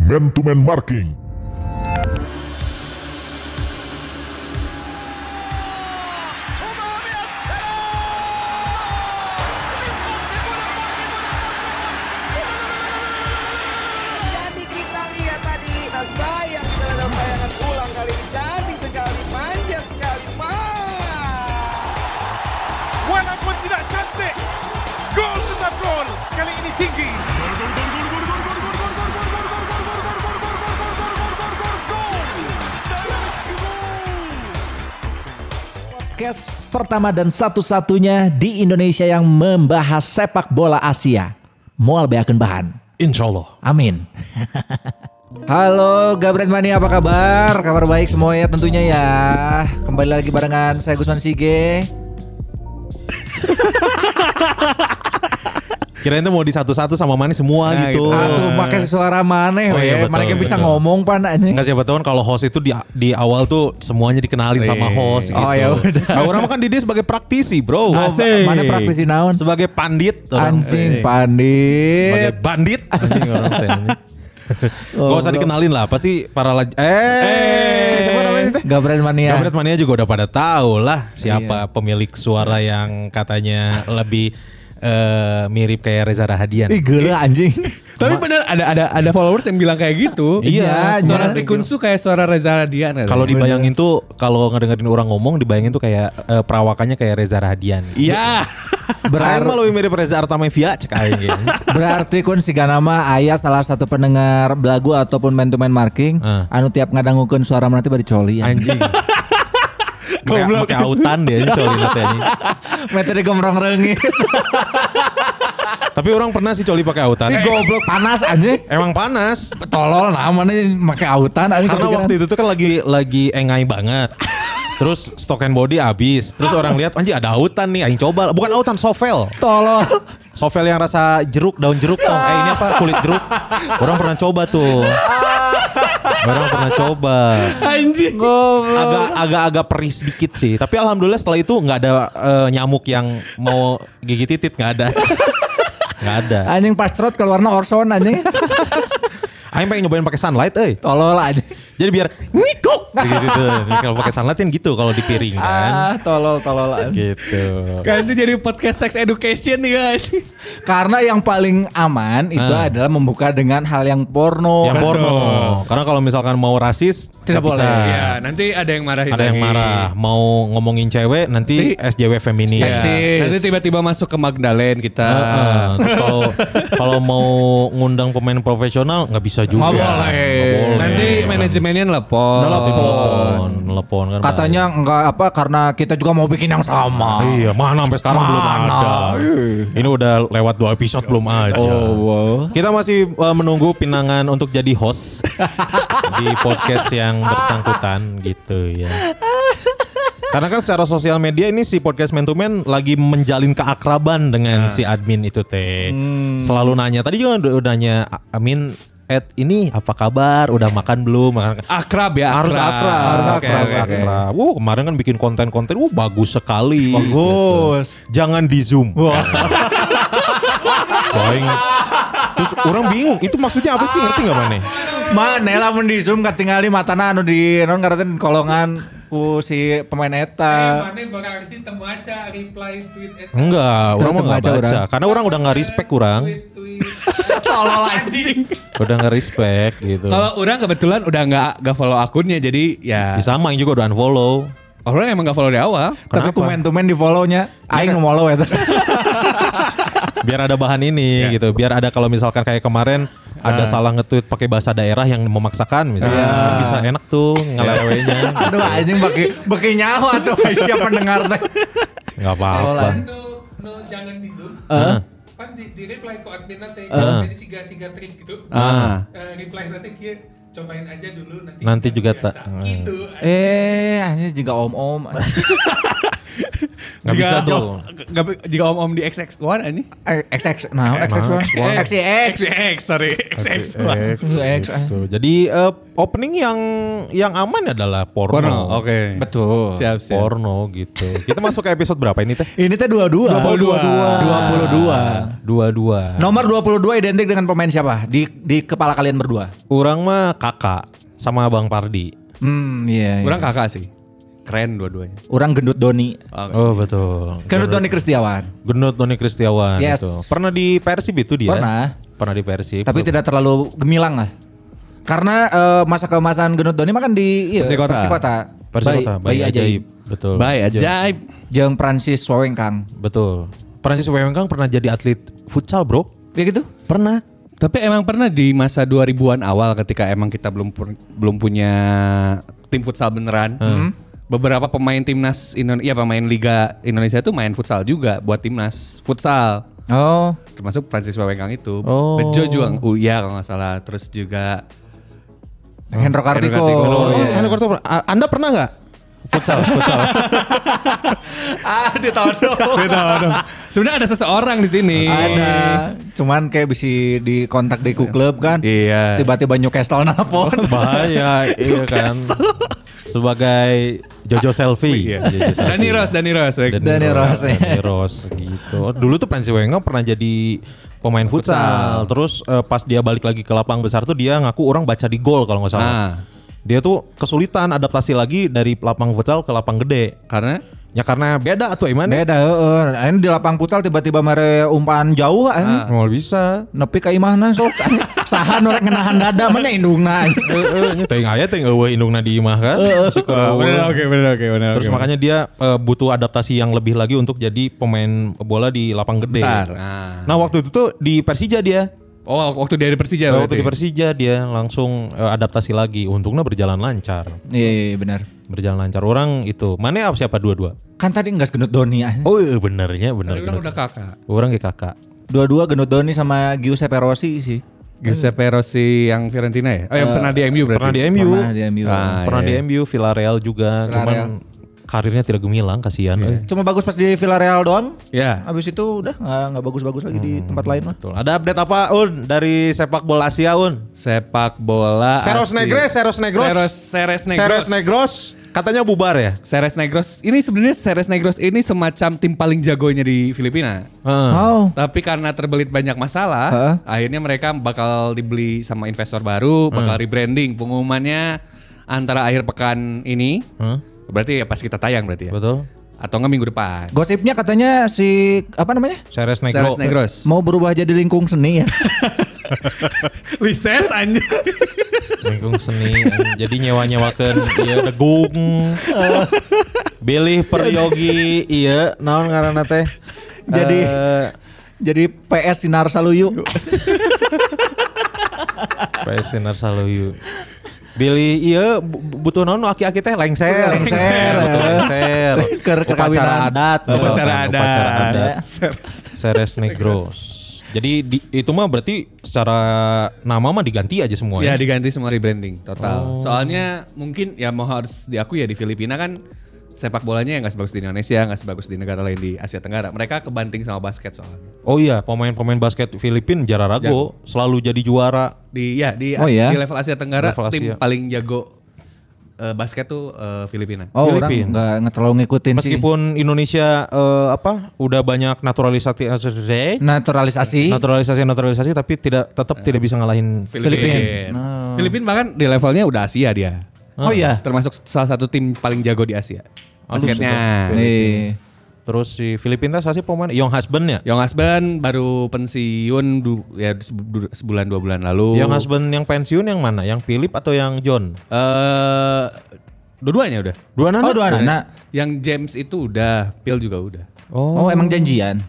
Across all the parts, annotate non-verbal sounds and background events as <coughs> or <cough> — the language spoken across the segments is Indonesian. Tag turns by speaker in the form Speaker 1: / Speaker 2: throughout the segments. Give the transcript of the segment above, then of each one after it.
Speaker 1: Man to Man Marking.
Speaker 2: Jadi kita lihat tadi, nah sayang terhadap bayangan ulang kali ini cantik sekali, manja sekali, Pak.
Speaker 3: Walaupun tidak cantik, gol tetap gol. Kali ini tinggi.
Speaker 4: podcast pertama dan satu-satunya di Indonesia yang membahas sepak bola Asia. Mual beakeun bahan.
Speaker 5: Insya Allah.
Speaker 4: Amin. <laughs> Halo Gabret Mani apa kabar? Kabar baik semua ya tentunya ya. Kembali lagi barengan saya Gusman Sige.
Speaker 5: Kirain tuh mau di satu-satu sama Manis semua gitu.
Speaker 4: Aduh pakai suara maneh
Speaker 5: Oh, iya,
Speaker 4: we.
Speaker 5: betul,
Speaker 4: Maneh yang bisa
Speaker 5: betul.
Speaker 4: ngomong pan anjing.
Speaker 5: Enggak siapa tahu kan kalau host itu di di awal tuh semuanya dikenalin sama host gitu.
Speaker 4: Oh, ya udah.
Speaker 5: Nah, orang mah kan Didi sebagai praktisi, Bro.
Speaker 4: Asik. Maneh praktisi naon?
Speaker 5: Sebagai pandit orang.
Speaker 4: Anjing
Speaker 5: Iya. Sebagai
Speaker 4: pandit.
Speaker 5: bandit. Anjing orang teh, anjing. Gak usah dikenalin lah, pasti para laj eh, siapa namanya teh?
Speaker 4: Gabret ya. Mania.
Speaker 5: Kabinet Mania juga udah pada tahu lah siapa pemilik suara yang katanya lebih eh, mirip kayak Reza Rahadian.
Speaker 4: Ih gila anjing.
Speaker 6: Tapi bener ada ada ada followers yang bilang kayak gitu.
Speaker 4: Iya, iya.
Speaker 6: Suara si Kunsu kayak suara Reza Radian.
Speaker 5: Kalau dibayangin tuh kalau ngedengerin orang ngomong dibayangin tuh kayak eh, perawakannya kayak Reza Rahadian. Iya. <laughs>
Speaker 4: Berar-
Speaker 5: Berar mah lebih mirip Reza Artamevia cek aing gitu.
Speaker 4: Berarti kun siga nama ayah salah satu pendengar belagu ataupun man to man marking
Speaker 5: Eh.
Speaker 4: anu tiap ngadangukeun suara nanti bari coli ya.
Speaker 5: <laughs> Anjing. Goblok. Pakai autan dia ini coli mah teh, anjing.
Speaker 4: <laughs> Metode gomrong
Speaker 5: <laughs>
Speaker 4: reungi.
Speaker 5: Tapi orang pernah sih coli pakai autan.
Speaker 4: Ih goblok panas anjing.
Speaker 5: Emang panas.
Speaker 4: Tolol namanya make autan anjing.
Speaker 5: Karena waktu itu tuh kan lagi lagi engai <laughs> banget. Terus stock and body habis. Terus orang lihat anjing ada autan nih, aing coba. Bukan autan, sovel.
Speaker 4: tolol.
Speaker 5: Sovel yang rasa jeruk, daun jeruk dong. Eh ini apa kulit jeruk? Orang pernah coba tuh. Orang pernah coba.
Speaker 6: anjing.
Speaker 5: Agak agak agak perih sedikit sih. Tapi alhamdulillah setelah itu nggak ada eh, nyamuk yang mau gigit titit nggak ada. Nggak ada.
Speaker 4: Anjing pastrot keluarna orson
Speaker 5: <laughs>
Speaker 4: anjing.
Speaker 5: Aing pengen nyobain pakai sunlight, eh.
Speaker 4: Tolol anjing.
Speaker 5: Jadi biar ngikuk gitu. gitu. Kalau pakai sunlight kan gitu kalau di piring kan.
Speaker 4: Ah, tolol tolol anjing.
Speaker 5: Gitu.
Speaker 6: Kan itu jadi podcast sex education nih guys.
Speaker 4: Karena yang paling aman itu
Speaker 5: Ah.
Speaker 4: adalah membuka dengan hal yang porno.
Speaker 5: Yang porno. Karena kalau misalkan mau rasis
Speaker 4: Tidak
Speaker 5: nggak
Speaker 4: boleh. Iya,
Speaker 5: bisa.
Speaker 6: Ya, nanti ada yang marahin
Speaker 5: Ada yang
Speaker 6: lagi.
Speaker 5: marah mau ngomongin cewek nanti SJW feminis.
Speaker 6: Iya.
Speaker 4: Seksis.
Speaker 6: Nanti tiba-tiba masuk ke Magdalene kita.
Speaker 5: Heeh. Terus kalau kalau mau ngundang pemain profesional nggak bisa juga.
Speaker 4: Nggak boleh.
Speaker 5: Nggak boleh.
Speaker 6: Nanti manajemennya nelpon.
Speaker 5: telepon, telepon kan.
Speaker 4: Katanya enggak apa karena kita juga mau bikin yang sama.
Speaker 5: bahaya. Iya, mana Iya. Oh, sampai sekarang belum
Speaker 4: Mana?
Speaker 5: ada. Ini udah lewat dua episode belum ada. Kita masih uh, menunggu pinangan untuk jadi
Speaker 6: <laughs>
Speaker 5: host di podcast yang bersangkutan gitu ya. Karena kan secara sosial media ini si podcast Man to Man lagi menjalin keakraban
Speaker 6: Nah.
Speaker 5: dengan si admin itu teh.
Speaker 6: Hmm.
Speaker 5: Selalu nanya. Tadi juga udah, udah nanya "A- Amin Ed ini apa kabar? Udah makan belum? Makan
Speaker 6: <laughs> Akrab ya,
Speaker 5: harus
Speaker 6: akrab.
Speaker 5: akrab, harus
Speaker 6: Oke,
Speaker 5: akrab,
Speaker 6: oke,
Speaker 5: harus
Speaker 6: oke.
Speaker 5: akrab. Wuh, kemarin kan bikin konten-konten, wuh bagus sekali.
Speaker 4: Bagus.
Speaker 5: Gitu. Jangan di zoom. Wah. Coing. Terus orang bingung, itu maksudnya apa sih? Ngerti nggak mana?
Speaker 4: Mana lamun di zoom katingali matana anu di non ngaretin kolongan ku si pemain eta.
Speaker 6: Mana berarti temaca reply tweet at
Speaker 5: Enggak, orang
Speaker 4: Tetep
Speaker 5: mah nggak
Speaker 4: aja
Speaker 5: baca.
Speaker 4: orang.
Speaker 5: Karena orang udah nggak respect kurang,
Speaker 6: tweet.
Speaker 4: Tolol anjing.
Speaker 5: udah nggak respect gitu.
Speaker 6: Kalau orang kebetulan udah nggak nggak follow akunnya jadi ya
Speaker 5: Disamain juga udah unfollow.
Speaker 6: orang emang nggak follow dari awal.
Speaker 4: Tapi
Speaker 5: Kenapa?
Speaker 4: kumen tumen di follow-nya. Aing nge-follow <laughs> eta.
Speaker 5: biar ada bahan ini gitu biar ada kalau misalkan kayak kemarin ada salah nge-tweet pakai bahasa daerah yang memaksakan misalnya Kan bisa enak tuh ngelewenya
Speaker 4: Aduh anjing bagi bagi nyawa tuh siapa pendengar teh.
Speaker 5: nggak apa-apa
Speaker 7: no, no jangan di zoom
Speaker 5: Heeh.
Speaker 7: kan di, di reply ke admin nanti
Speaker 5: Ah.
Speaker 7: jadi siga siga trik gitu
Speaker 6: Ah.
Speaker 7: Eh, reply nanti kia cobain aja dulu nanti
Speaker 5: Nanti
Speaker 7: kita
Speaker 5: juga
Speaker 7: biasa.
Speaker 5: tak-
Speaker 7: gitu
Speaker 4: <laughs> Eh, anjing juga om-om.
Speaker 5: Nggak
Speaker 6: Jika-
Speaker 5: bisa tuh.
Speaker 6: nggak- Jika om-om di XX1 ini.
Speaker 4: Eh, XX, nah, XX1,
Speaker 5: Nah,
Speaker 4: XYX.
Speaker 6: XX, sorry. XX1.
Speaker 4: X, eh.
Speaker 5: Gitu. Jadi eh, opening yang yang aman adalah porno.
Speaker 6: Porno, oke.
Speaker 4: Betul.
Speaker 6: Siap, siap.
Speaker 5: Porno gitu.
Speaker 6: <laughs>
Speaker 5: Kita masuk ke episode berapa ini teh?
Speaker 4: Ini teh 22.
Speaker 6: 22.
Speaker 4: 22.
Speaker 6: Ah.
Speaker 5: Dua-dua.
Speaker 4: Nomor 22 identik dengan pemain siapa? Di di kepala kalian berdua.
Speaker 5: Urang mah kakak sama Bang Pardi.
Speaker 4: Hmm, iya. iya.
Speaker 6: Kurang kakak sih. Keren dua-duanya.
Speaker 4: Orang gendut Doni.
Speaker 5: Oh betul.
Speaker 4: Gendut Doni Kan Kristiawan.
Speaker 5: Gendut Doni Kristiawan
Speaker 4: Yes.
Speaker 5: itu. Pernah di Persib itu dia?
Speaker 4: Pernah.
Speaker 5: Pernah di Persib.
Speaker 4: Tapi tidak terlalu gemilang lah. Karena eh, masa keemasan Gendut Doni makan di iya,
Speaker 6: Persikota.
Speaker 4: Persikota.
Speaker 5: Persikota,
Speaker 4: bayi, bayi ajaib.
Speaker 5: Betul. Iya.
Speaker 6: Bye aja.
Speaker 4: Jeung Francis Wawengkang.
Speaker 5: Betul. Prancis Wewengkang pernah jadi atlet futsal, Bro.
Speaker 4: Ya gitu?
Speaker 5: Pernah.
Speaker 6: Tapi emang pernah di masa 2000-an awal ketika emang kita belum pu- belum punya tim futsal beneran. Beberapa pemain timnas Indonesia, pemain liga Indonesia itu main futsal juga buat timnas futsal.
Speaker 4: Oh.
Speaker 6: Termasuk Francis Wawengkang itu.
Speaker 5: Oh.
Speaker 6: Bejo juga Uya kalau nggak salah. Terus juga
Speaker 4: Hendro Kartiko.
Speaker 6: Kartiko.
Speaker 5: Oh,
Speaker 6: iya.
Speaker 5: Anda kartu pernah- A- Anda pernah nggak? Futsal, futsal.
Speaker 4: Ah, di tahun
Speaker 6: Sebenarnya ada seseorang di sini.
Speaker 4: Ada.
Speaker 6: Iya.
Speaker 4: Cuman kayak bisa di kontak Deku Club kan.
Speaker 6: Iya.
Speaker 4: Tiba-tiba Newcastle <laughs> nelpon.
Speaker 5: Oh, Bahaya, iya kan. Sebagai Jojo selfie.
Speaker 6: Iya. <laughs> Dani Ros, Dani Ros. baik.
Speaker 4: Dani Ros, ya.
Speaker 5: Dani Ros gitu. Oh, Dulu tuh Francis Wewengkang pernah jadi pemain futsal. Terus eh, pas dia balik lagi ke lapang besar tuh dia ngaku orang baca di gol kalau nggak salah.
Speaker 6: Nah.
Speaker 5: Dia tuh kesulitan adaptasi lagi dari lapang futsal ke lapang gede.
Speaker 6: Karena
Speaker 5: Ya karena beda tuh Iman.
Speaker 4: Beda, heeh. Ini di lapang pucal tiba-tiba mere umpan jauh kan.
Speaker 5: Nggak Hmm, bisa.
Speaker 4: Nepi ka imahna sok. Saha nu rek ngenahan dada mah nya indungna.
Speaker 5: Eh, Teng aya teng eueuh ya, indungna di imah kan. Suka
Speaker 6: benar oke benar oke benar.
Speaker 5: Terus makanya dia eh, butuh adaptasi yang lebih lagi untuk jadi pemain bola di lapang gede.
Speaker 6: Besar.
Speaker 5: Nah,
Speaker 6: Nah.
Speaker 5: waktu itu tuh di Persija dia.
Speaker 6: Oh waktu dia di Persija
Speaker 5: waktu di
Speaker 6: berarti.
Speaker 5: Persija dia langsung eh, adaptasi lagi. Untungnya berjalan lancar.
Speaker 4: Iya, iya, benar.
Speaker 5: Berjalan lancar. Orang itu. Mana apa siapa dua-dua?
Speaker 4: Kan tadi enggak gendut Doni. anjing.
Speaker 5: Oh iya benernya bener.
Speaker 6: Tadi kan orang
Speaker 5: bener.
Speaker 6: udah kakak.
Speaker 5: Orang kayak kakak.
Speaker 4: Dua-dua gendut Doni sama Giuseppe Rossi sih.
Speaker 6: Giuseppe Rossi yang Fiorentina ya? Oh yang pernah di MU berarti?
Speaker 5: Pernah di MU.
Speaker 4: Pernah di MU.
Speaker 6: Ah,
Speaker 5: Pernah
Speaker 6: iya,
Speaker 5: di
Speaker 6: iya.
Speaker 5: MU, Villarreal juga. Cuman
Speaker 4: Villarreal.
Speaker 5: karirnya tidak gemilang, kasihan. eh.
Speaker 4: Cuma bagus pas di Villarreal doang.
Speaker 6: Ya.
Speaker 4: Habis itu udah nggak nggak bagus-bagus lagi di
Speaker 6: Hmm.
Speaker 4: tempat lain mah.
Speaker 5: Betul. Ada update apa Un dari sepak bola Asia Un?
Speaker 6: Sepak bola
Speaker 5: Seros
Speaker 6: asli.
Speaker 5: Negres, Seros Negros.
Speaker 6: Seros, Seres Negros.
Speaker 5: Seres Negros katanya bubar ya?
Speaker 6: Seres Negros. Ini sebenarnya Seres Negros ini semacam tim paling jagonya di Filipina.
Speaker 4: Oh.
Speaker 6: Tapi karena terbelit banyak masalah,
Speaker 4: Heeh.
Speaker 6: akhirnya mereka bakal dibeli sama investor baru, bakal rebranding. Pengumumannya antara akhir pekan ini.
Speaker 5: Heeh.
Speaker 6: Berarti ya pas kita tayang berarti ya.
Speaker 5: Betul.
Speaker 6: Atau enggak minggu <laughs> depan.
Speaker 4: Gosipnya katanya si apa namanya?
Speaker 5: Seres Negro.
Speaker 6: Seres Negros.
Speaker 4: Mau berubah jadi lingkung seni ya. <laughs>
Speaker 6: Lises anjing.
Speaker 5: Lingkung seni. jadi nyewa-nyewakeun ieu degung. Bilih peryogi iya naon ngaranna teh?
Speaker 4: Jadi-
Speaker 5: Eh,
Speaker 4: jadi PS Sinar Saluyu. <laughs> PS
Speaker 5: Pesenar Saluyu. Billy iya bu- butuh naon nu aki-aki teh lengser,
Speaker 4: Lengser.
Speaker 5: butuh lengser.
Speaker 4: <laughs> Ke
Speaker 5: upacara
Speaker 4: perkawinan.
Speaker 5: adat, misalkan,
Speaker 6: Upacara adat.
Speaker 5: upacara
Speaker 4: Iya.
Speaker 6: <laughs>
Speaker 5: adat. Seres Negros. Jadi di, itu mah berarti secara nama mah diganti aja
Speaker 4: Iya.
Speaker 5: semuanya.
Speaker 6: Ya diganti semua rebranding
Speaker 4: Oh.
Speaker 6: total. Soalnya mungkin ya mau harus diakui ya di Filipina kan sepak bolanya yang nggak sebagus di Indonesia, nggak sebagus di negara lain di Asia Tenggara. Mereka kebanting sama basket soalnya.
Speaker 5: Oh iya, pemain-pemain basket Filipina jararago
Speaker 4: Iya.
Speaker 5: selalu jadi juara.
Speaker 6: Di ya di,
Speaker 4: Oh,
Speaker 6: As-
Speaker 4: ya?
Speaker 6: di level Asia Tenggara
Speaker 5: Level
Speaker 6: tim
Speaker 5: Asia.
Speaker 6: paling jago eh, basket tuh eh, Filipina.
Speaker 4: Oh, orang
Speaker 5: Filipin.
Speaker 4: nggak nggak terlalu ngikutin sih.
Speaker 5: Meskipun Indonesia eh, apa udah banyak naturalisasi
Speaker 4: Naturalisasi. Ya.
Speaker 5: naturalisasi naturalisasi tapi tidak tetap tidak bisa ngalahin
Speaker 4: Filipin.
Speaker 6: Filipina bahkan di levelnya udah Asia dia.
Speaker 4: Oh iya. Oh,
Speaker 6: Termasuk salah satu tim paling jago di Asia.
Speaker 5: Aduh,
Speaker 6: Basketnya.
Speaker 4: Nih.
Speaker 5: Terus si Filipina sih pemain Young Husband ya?
Speaker 6: Young Husband baru pensiun du- ya sebu- sebulan dua bulan lalu.
Speaker 5: Young Husband yang pensiun yang mana? Yang Philip atau yang John?
Speaker 6: eh dua-duanya udah.
Speaker 5: Dua
Speaker 4: Oh, dua anak.
Speaker 6: Yang James itu udah, Pil juga udah.
Speaker 4: Oh,
Speaker 5: Oh,
Speaker 4: emang
Speaker 6: <laughs>
Speaker 4: janjian.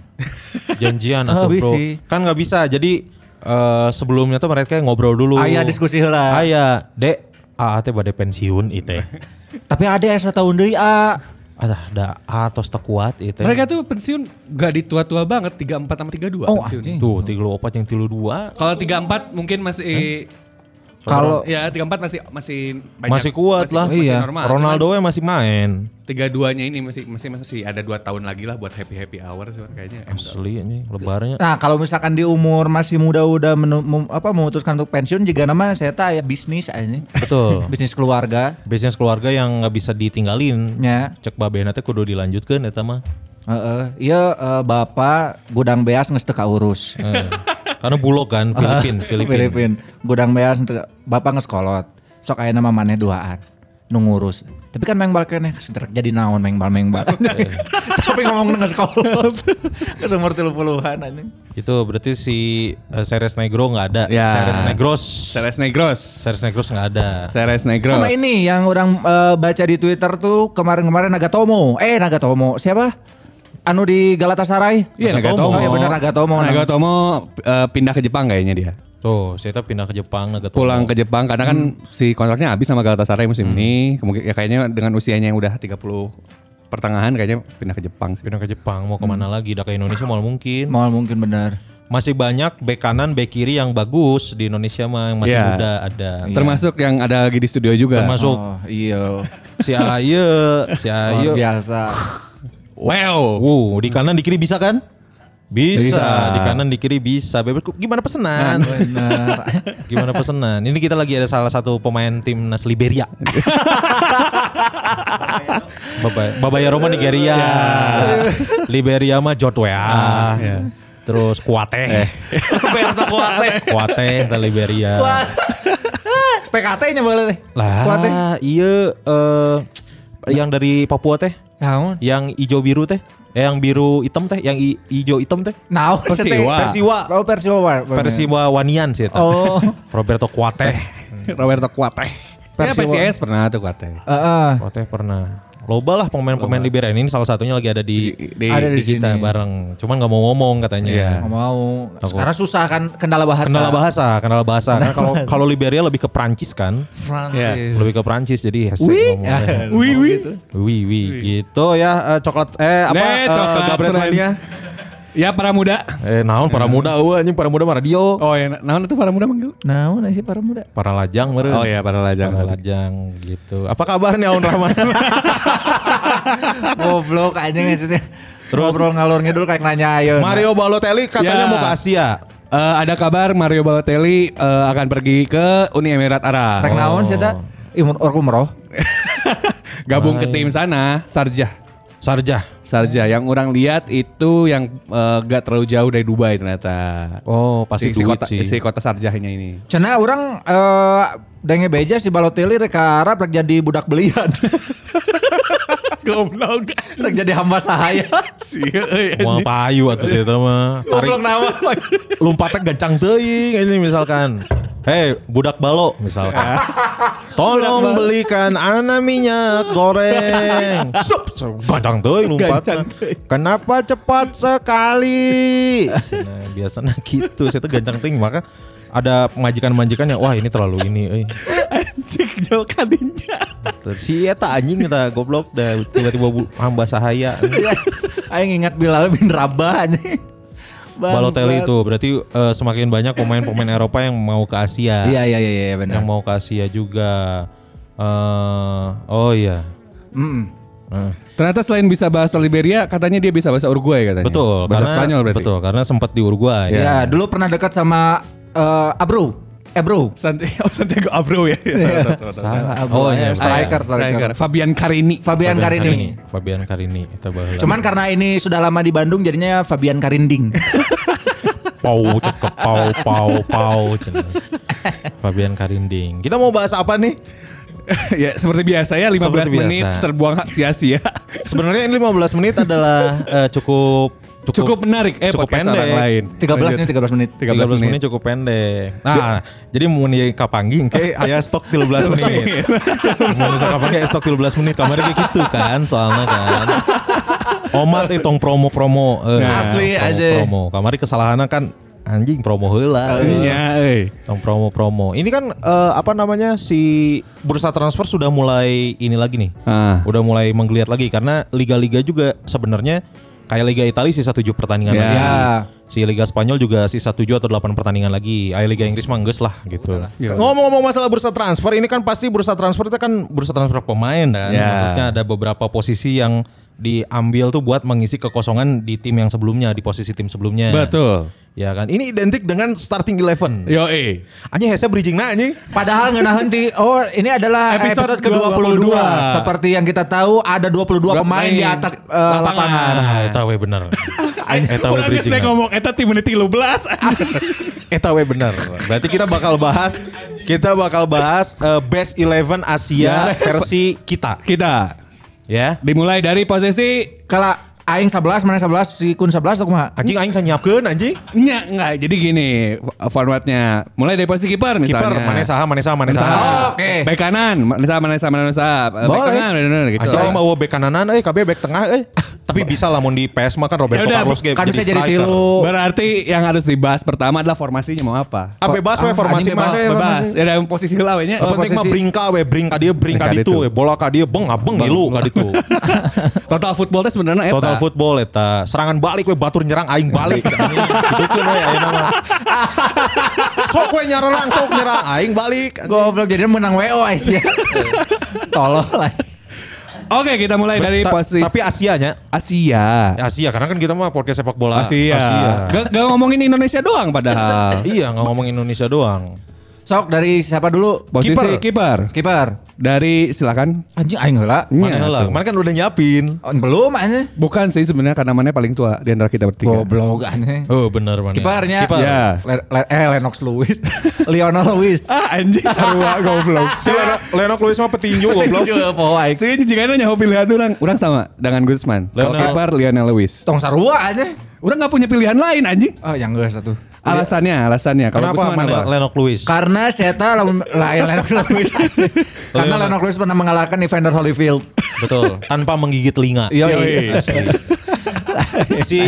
Speaker 5: janjian
Speaker 4: <laughs> Oh,
Speaker 5: atau bro?
Speaker 4: bisi.
Speaker 5: Kan nggak bisa. Jadi eh, sebelumnya tuh mereka ngobrol dulu.
Speaker 4: Ayah diskusi heula.
Speaker 5: Ayah, dek, ah teh bade pensiun
Speaker 4: <laughs>
Speaker 5: itu.
Speaker 4: Tapi ada yang setahun deui A.
Speaker 5: Ada da atos tekuat itu.
Speaker 6: Mereka tuh pensiun gak ditua-tua banget, 34 sama 32
Speaker 4: Oh,
Speaker 6: pensiun.
Speaker 4: anjing.
Speaker 5: tuh tiga opat yang tilu dua.
Speaker 6: Kalau 34 mungkin masih
Speaker 4: Kalau
Speaker 6: Ya 34 masih masih banyak.
Speaker 5: Masih kuat lah.
Speaker 6: Masih
Speaker 4: Iya.
Speaker 6: normal.
Speaker 5: Ronaldo yang masih main.
Speaker 6: Tiga duanya ini masih masih masih ada dua tahun lagi lah buat happy happy hour sih kayaknya.
Speaker 5: Asli ini lebarnya.
Speaker 4: Nah kalau misalkan di umur masih muda udah menu- mem- apa, memutuskan untuk pensiun juga nama saya tahu ya bisnis aja.
Speaker 5: Betul.
Speaker 4: <laughs> bisnis keluarga.
Speaker 5: Bisnis keluarga yang nggak bisa ditinggalin.
Speaker 4: Ya.
Speaker 5: Cek babena teh kudu dilanjutkan eta mah.
Speaker 4: Heeh. Iya eh, bapak gudang beas nges teu kaurus.
Speaker 5: Eh, <laughs> Karena bulog
Speaker 4: <laughs>
Speaker 5: kan Filipin, Filipin.
Speaker 4: Filipin. Gudang beas teu- bapak ngeskolot. Sok aya nama maneh duaan nu ngurus. Tapi kan mengbal keneh sederek jadi naon mengbal mengbal.
Speaker 5: Iya.
Speaker 4: <laughs> Tapi ngomong ngeskolot. Ke umur 30-an anjing.
Speaker 5: Itu berarti si eh, Ceres Negro nggak ada.
Speaker 6: Ya.
Speaker 5: Ceres Negros.
Speaker 6: Seres Negros.
Speaker 5: Ceres Negros nggak ada.
Speaker 6: Seres Negros.
Speaker 4: Sama ini yang orang eh, baca di Twitter tuh kemarin-kemarin Nagatomo. Eh Nagatomo siapa? Anu di Galatasaray?
Speaker 6: Iya
Speaker 5: Nagatomo.
Speaker 6: Nagatomo.
Speaker 4: Oh, iya benar, Nagatomo.
Speaker 6: Nagatomo eh, pindah ke Jepang kayaknya dia.
Speaker 5: Tuh, saya pindah ke Jepang Nagatomo.
Speaker 6: Pulang ke Jepang karena kan si kontraknya habis sama Galatasaray musim ini. Kemungkinan ya kayaknya dengan usianya yang udah 30 pertengahan kayaknya pindah ke Jepang sih.
Speaker 5: pindah ke Jepang mau kemana
Speaker 4: Hmm.
Speaker 5: lagi? Udah ke Indonesia mau mungkin.
Speaker 4: Mau mungkin benar.
Speaker 5: Masih banyak bek kanan, bek kiri yang bagus di Indonesia mah yang
Speaker 4: Ya.
Speaker 5: masih
Speaker 6: Iya.
Speaker 5: muda ada.
Speaker 6: Termasuk yang ada lagi di studio juga.
Speaker 5: Termasuk
Speaker 4: Oh iya.
Speaker 5: si Aye,
Speaker 4: <laughs>
Speaker 5: si
Speaker 4: Luar
Speaker 5: Aye.
Speaker 4: biasa.
Speaker 5: Wow. Wow, di kanan di kiri bisa kan? Bisa.
Speaker 6: Bisa.
Speaker 5: Di kanan di kiri bisa. Bebas gimana pesenan?
Speaker 4: Benar.
Speaker 5: <laughs> gimana pesenan? Ini kita lagi ada salah satu pemain timnas Liberia. Baba- Babaya Roma Nigeria. Liberia mah Jotwea. Terus <laughs> Kuate.
Speaker 4: Berta Kuate.
Speaker 5: Kuate teh Liberia.
Speaker 4: PKT-nya boleh teh.
Speaker 5: Lah,
Speaker 4: Kuate.
Speaker 5: iya eh, yang dari Papua teh,
Speaker 4: Naon?
Speaker 5: yang hijau biru teh, eh, yang biru hitam teh, yang i- hijau hitam teh.
Speaker 4: Naon?
Speaker 6: Persiwa.
Speaker 4: teh?
Speaker 5: Persiwa.
Speaker 4: Oh <laughs> Persiwa. war- war-
Speaker 5: Persiwa Wanian sih eta.
Speaker 4: Oh.
Speaker 5: <laughs> Roberto Kuate.
Speaker 6: Roberto Kuate. Ya
Speaker 4: Persiwa.
Speaker 6: PCS pernah tuh Kuate.
Speaker 4: Heeh.
Speaker 5: Kuate pernah. Loba lah pemain-pemain Liberia ini salah satunya lagi ada di
Speaker 6: Di-
Speaker 4: ada di sini.
Speaker 5: kita bareng. Cuman nggak mau ngomong katanya.
Speaker 6: Iya.
Speaker 4: Nggak mau. Karena susah kan kendala bahasa.
Speaker 5: Kendala bahasa, kendala bahasa. Karena kalau kalau Liberia lebih ke Prancis kan,
Speaker 4: Francis.
Speaker 5: lebih ke Prancis jadi hese ngomongnya.
Speaker 6: Wih wih.
Speaker 5: Wih, wih, gitu ya eh, coklat eh apa
Speaker 6: Nih,
Speaker 5: eh,
Speaker 6: coklat
Speaker 5: Gabriel
Speaker 6: Sunrise.
Speaker 5: Manis.
Speaker 6: Ya para muda.
Speaker 5: Eh naon para muda eueuh anjing para muda mah radio.
Speaker 6: Oh ya, naon itu para muda manggil?
Speaker 4: Naon sih para muda?
Speaker 5: Para lajang meureun.
Speaker 6: Oh ya para lajang.
Speaker 5: Para lajang gitu. Apa kabar nih Aun <laughs> Rahman?
Speaker 4: Goblok aja maksudnya.
Speaker 5: Terus-
Speaker 4: Ngobrol ngalor ngidul kayak nanya ayo.
Speaker 5: Mario Balotelli katanya
Speaker 6: Ya.
Speaker 5: mau ke Asia.
Speaker 6: Eh, ada kabar Mario Balotelli eh, akan pergi ke Uni Emirat Arab.
Speaker 4: Rek naon sih
Speaker 5: Oh.
Speaker 4: ta? Imun orku meroh.
Speaker 6: Gabung ke tim sana, Sarjah.
Speaker 5: Sarjah.
Speaker 6: Sarjah yang orang lihat itu yang eh, gak terlalu jauh dari Dubai ternyata.
Speaker 5: Oh, pasti
Speaker 6: si, si
Speaker 5: duit
Speaker 6: kota,
Speaker 5: sih.
Speaker 6: si kota Sarjahnya ini.
Speaker 4: Cenah orang eh denge beja si Balotelli rek ka Arab rek jadi budak
Speaker 5: <laughs>
Speaker 4: belian. Goblok. Rek jadi hamba sahaya.
Speaker 6: Si euy.
Speaker 5: Wah payu atau sih mah.
Speaker 4: Goblok
Speaker 5: Tarik
Speaker 4: naon.
Speaker 5: lompatnya gancang teuing ini misalkan. Hei, budak balo misalkan. <laughs> Tolong belikan ana minyak goreng. <laughs> Sup, sup, gancang teuing lompatnya. Kenapa cepat sekali? Nah, biasanya gitu, saya tuh gancang teuing maka ada majikan-majikan yang wah ini terlalu ini euy.
Speaker 6: Cik jauh kadinya.
Speaker 5: Si eta anjing kita goblok dah tiba-tiba bu- hamba sahaya.
Speaker 4: Iya. Aing ingat Bilal bin Rabah anjing. Bangsat.
Speaker 5: Balotelli itu berarti eh, semakin banyak pemain-pemain Eropa yang mau ke Asia.
Speaker 4: Iya iya iya iya benar.
Speaker 5: yang mau ke Asia juga. eh oh iya.
Speaker 4: Mm.
Speaker 5: Nah,
Speaker 6: Ternyata selain bisa bahasa Liberia, katanya dia bisa bahasa Uruguay katanya.
Speaker 5: betul,
Speaker 6: Bahasa
Speaker 5: karena-
Speaker 6: Spanyol berarti.
Speaker 5: Betul, karena sempat di Uruguay. Iya.
Speaker 4: Ya, dulu pernah dekat sama eh, Abru. Eh bro.
Speaker 6: <laughs> Santiago, Santiago Abreu ya.
Speaker 5: Salah, oh iya,
Speaker 4: striker, striker.
Speaker 6: Striker. Fabian Carini.
Speaker 4: Fabian Karini.
Speaker 5: Fabian Karini, kita bahas.
Speaker 4: Cuman karena ini sudah lama di Bandung jadinya Fabian Karinding. <laughs>
Speaker 5: pau cekep pau pau pau. cenah. Fabian Karinding. Kita mau bahas apa nih?
Speaker 6: <laughs> ya seperti biasa ya 15
Speaker 5: Seperti biasa.
Speaker 6: menit terbuang sia-sia.
Speaker 5: Sebenarnya ini 15 menit adalah eh, cukup,
Speaker 6: <laughs> Cukup menarik eh
Speaker 5: cukup
Speaker 6: podcast orang
Speaker 5: pendek.
Speaker 6: lain.
Speaker 4: 13 nih 13 menit.
Speaker 5: 13,
Speaker 6: 13
Speaker 5: menit.
Speaker 6: menit.
Speaker 5: cukup pendek. Nah, jadi mau nih kapangging <laughs> kayak ayah stok 13 menit. <laughs> Mau nih kapangging aya stok 13 menit kemarin kayak gitu kan soalnya kan. Omat itu promo-promo eh,
Speaker 6: Nah,
Speaker 4: asli
Speaker 5: promo-
Speaker 4: aja.
Speaker 5: Promo. Kemarin kesalahannya kan anjing promo heula.
Speaker 6: Ya, eh.
Speaker 5: Tong promo-promo. Ini kan eh, apa namanya si bursa transfer sudah mulai ini lagi nih.
Speaker 6: Ah.
Speaker 5: Udah mulai menggeliat lagi karena liga-liga juga sebenarnya kayak Liga Italia sisa 7 pertandingan
Speaker 6: Ya.
Speaker 5: lagi. Si Liga Spanyol juga sisa 7 atau 8 pertandingan lagi. Ayo Liga Inggris mah geus lah gitu.
Speaker 6: Iya.
Speaker 5: Ngomong-ngomong masalah bursa transfer, ini kan pasti bursa transfer itu kan bursa transfer pemain kan.
Speaker 6: Ya.
Speaker 5: Maksudnya ada beberapa posisi yang diambil tuh buat mengisi kekosongan di tim yang sebelumnya, di posisi tim sebelumnya.
Speaker 6: Betul.
Speaker 5: Ya kan. Ini identik dengan starting eleven.
Speaker 6: Yo eh.
Speaker 5: Anjing hese bridging na anjing.
Speaker 4: Padahal ngenah henti. Oh, ini adalah
Speaker 6: Episode
Speaker 4: episode, ke-22.
Speaker 6: 22.
Speaker 4: Seperti yang kita tahu ada 22 pemain, di atas eh, lapangan.
Speaker 5: Eta we Ah, bener.
Speaker 6: <laughs>
Speaker 5: Eta we
Speaker 7: Orang geus
Speaker 5: bridging.
Speaker 7: teh ngomong eta tim menit
Speaker 6: Ah,
Speaker 7: 13.
Speaker 5: Eta we bener. Berarti kita bakal bahas kita bakal bahas eh, best 11 Asia versi kita.
Speaker 6: Kita
Speaker 5: Ya.
Speaker 6: dimulai dari posisi
Speaker 4: Kalau aing 11, mana 11, si Kun 11 aku mah.
Speaker 5: Anjing aing saya nyiapkeun anjing.
Speaker 6: Nggak, nggak. Jadi gini f- formatnya. Mulai dari posisi kiper misalnya.
Speaker 5: Kiper mana saha mana saha mana
Speaker 6: Manesa.
Speaker 5: saha.
Speaker 4: Oh, oke.
Speaker 6: Back kanan, Manesa, Manesa, Manesa. Eh, Back
Speaker 4: Boleh.
Speaker 6: kanan, bener gitu.
Speaker 5: Asal aing mau back kananan euy, kabeh back tengah euy. Tapi bisa lah mun di PS mah kan Roberto
Speaker 6: Yaudah,
Speaker 5: Carlos ge
Speaker 4: kan bisa jadi
Speaker 5: striker.
Speaker 4: tilu.
Speaker 6: Berarti yang harus dibahas pertama adalah formasinya mau apa?
Speaker 5: Ah bebas we
Speaker 4: Ah,
Speaker 5: formasi
Speaker 4: anjing
Speaker 5: mah.
Speaker 4: bebas we.
Speaker 6: Bebas. Ya dalam posisi lah we nya.
Speaker 5: Yang penting mah
Speaker 4: Posisi.
Speaker 5: bringka we, bring ka dia, bring ka
Speaker 6: Bring ka
Speaker 5: ditu
Speaker 6: ditu.
Speaker 5: we, bola ka dia, beng abeng dilu ka ditu.
Speaker 6: <laughs> Total footballnya sebenarnya eta. Iya,
Speaker 5: Total football eta. Serangan balik we batur nyerang aing
Speaker 6: <laughs>
Speaker 5: balik.
Speaker 6: kan,
Speaker 5: Gitu we ayeuna mah. <laughs> Sok we nyerang, sok nyerang aing balik.
Speaker 4: Goblok jadi menang WO aing sih. Tolol lah.
Speaker 6: Oke, kita mulai dari
Speaker 5: Ta-
Speaker 6: posisi
Speaker 5: Tapi Asianya,
Speaker 6: Asia.
Speaker 5: Asia karena kan kita mah podcast sepak bola.
Speaker 6: Asia. Gak, gak ngomongin Indonesia doang padahal.
Speaker 5: Iya, nggak ngomong Indonesia doang.
Speaker 4: Sok dari siapa dulu?
Speaker 6: Posisi kiper.
Speaker 4: Kiper.
Speaker 6: Dari silakan.
Speaker 4: Anjing aing heula.
Speaker 6: Iya,
Speaker 5: Mana lah,
Speaker 6: tuh.
Speaker 5: kemarin kan udah nyiapin.
Speaker 4: Oh, belum anjing.
Speaker 6: Bukan sih sebenarnya karena mana paling tua di antara kita bertiga.
Speaker 4: Goblok anjing.
Speaker 5: Oh, benar mana.
Speaker 4: Kipernya.
Speaker 5: Kiper.
Speaker 6: Ya.
Speaker 4: Le- Le- eh Lennox Lewis. <laughs> Lionel Lewis.
Speaker 6: Ah anjing sarua goblok.
Speaker 5: Si Leno- Lenok Lewis mah petinju goblok.
Speaker 4: Juga poho aing.
Speaker 6: Si jika nyaho pilihan orang, orang sama dengan Gusman. Kalau
Speaker 5: Lionel.
Speaker 6: kiper Lionel Lewis.
Speaker 4: Tong sarua anjing.
Speaker 6: Orang nggak punya pilihan lain anjing.
Speaker 4: Oh, yang gue satu.
Speaker 6: Alasannya, alasannya. Kalau
Speaker 5: Kenapa
Speaker 6: Gusman
Speaker 5: mana
Speaker 6: apa?
Speaker 5: Lenok Lewis?
Speaker 4: Karena Seta <laughs> lain Lennox Lewis. Karena Lennox Lewis pernah mengalahkan Evander Holyfield.
Speaker 5: Betul, tanpa menggigit telinga.
Speaker 4: Iya,
Speaker 5: Yoi.
Speaker 4: iya.
Speaker 5: Asli. <laughs> si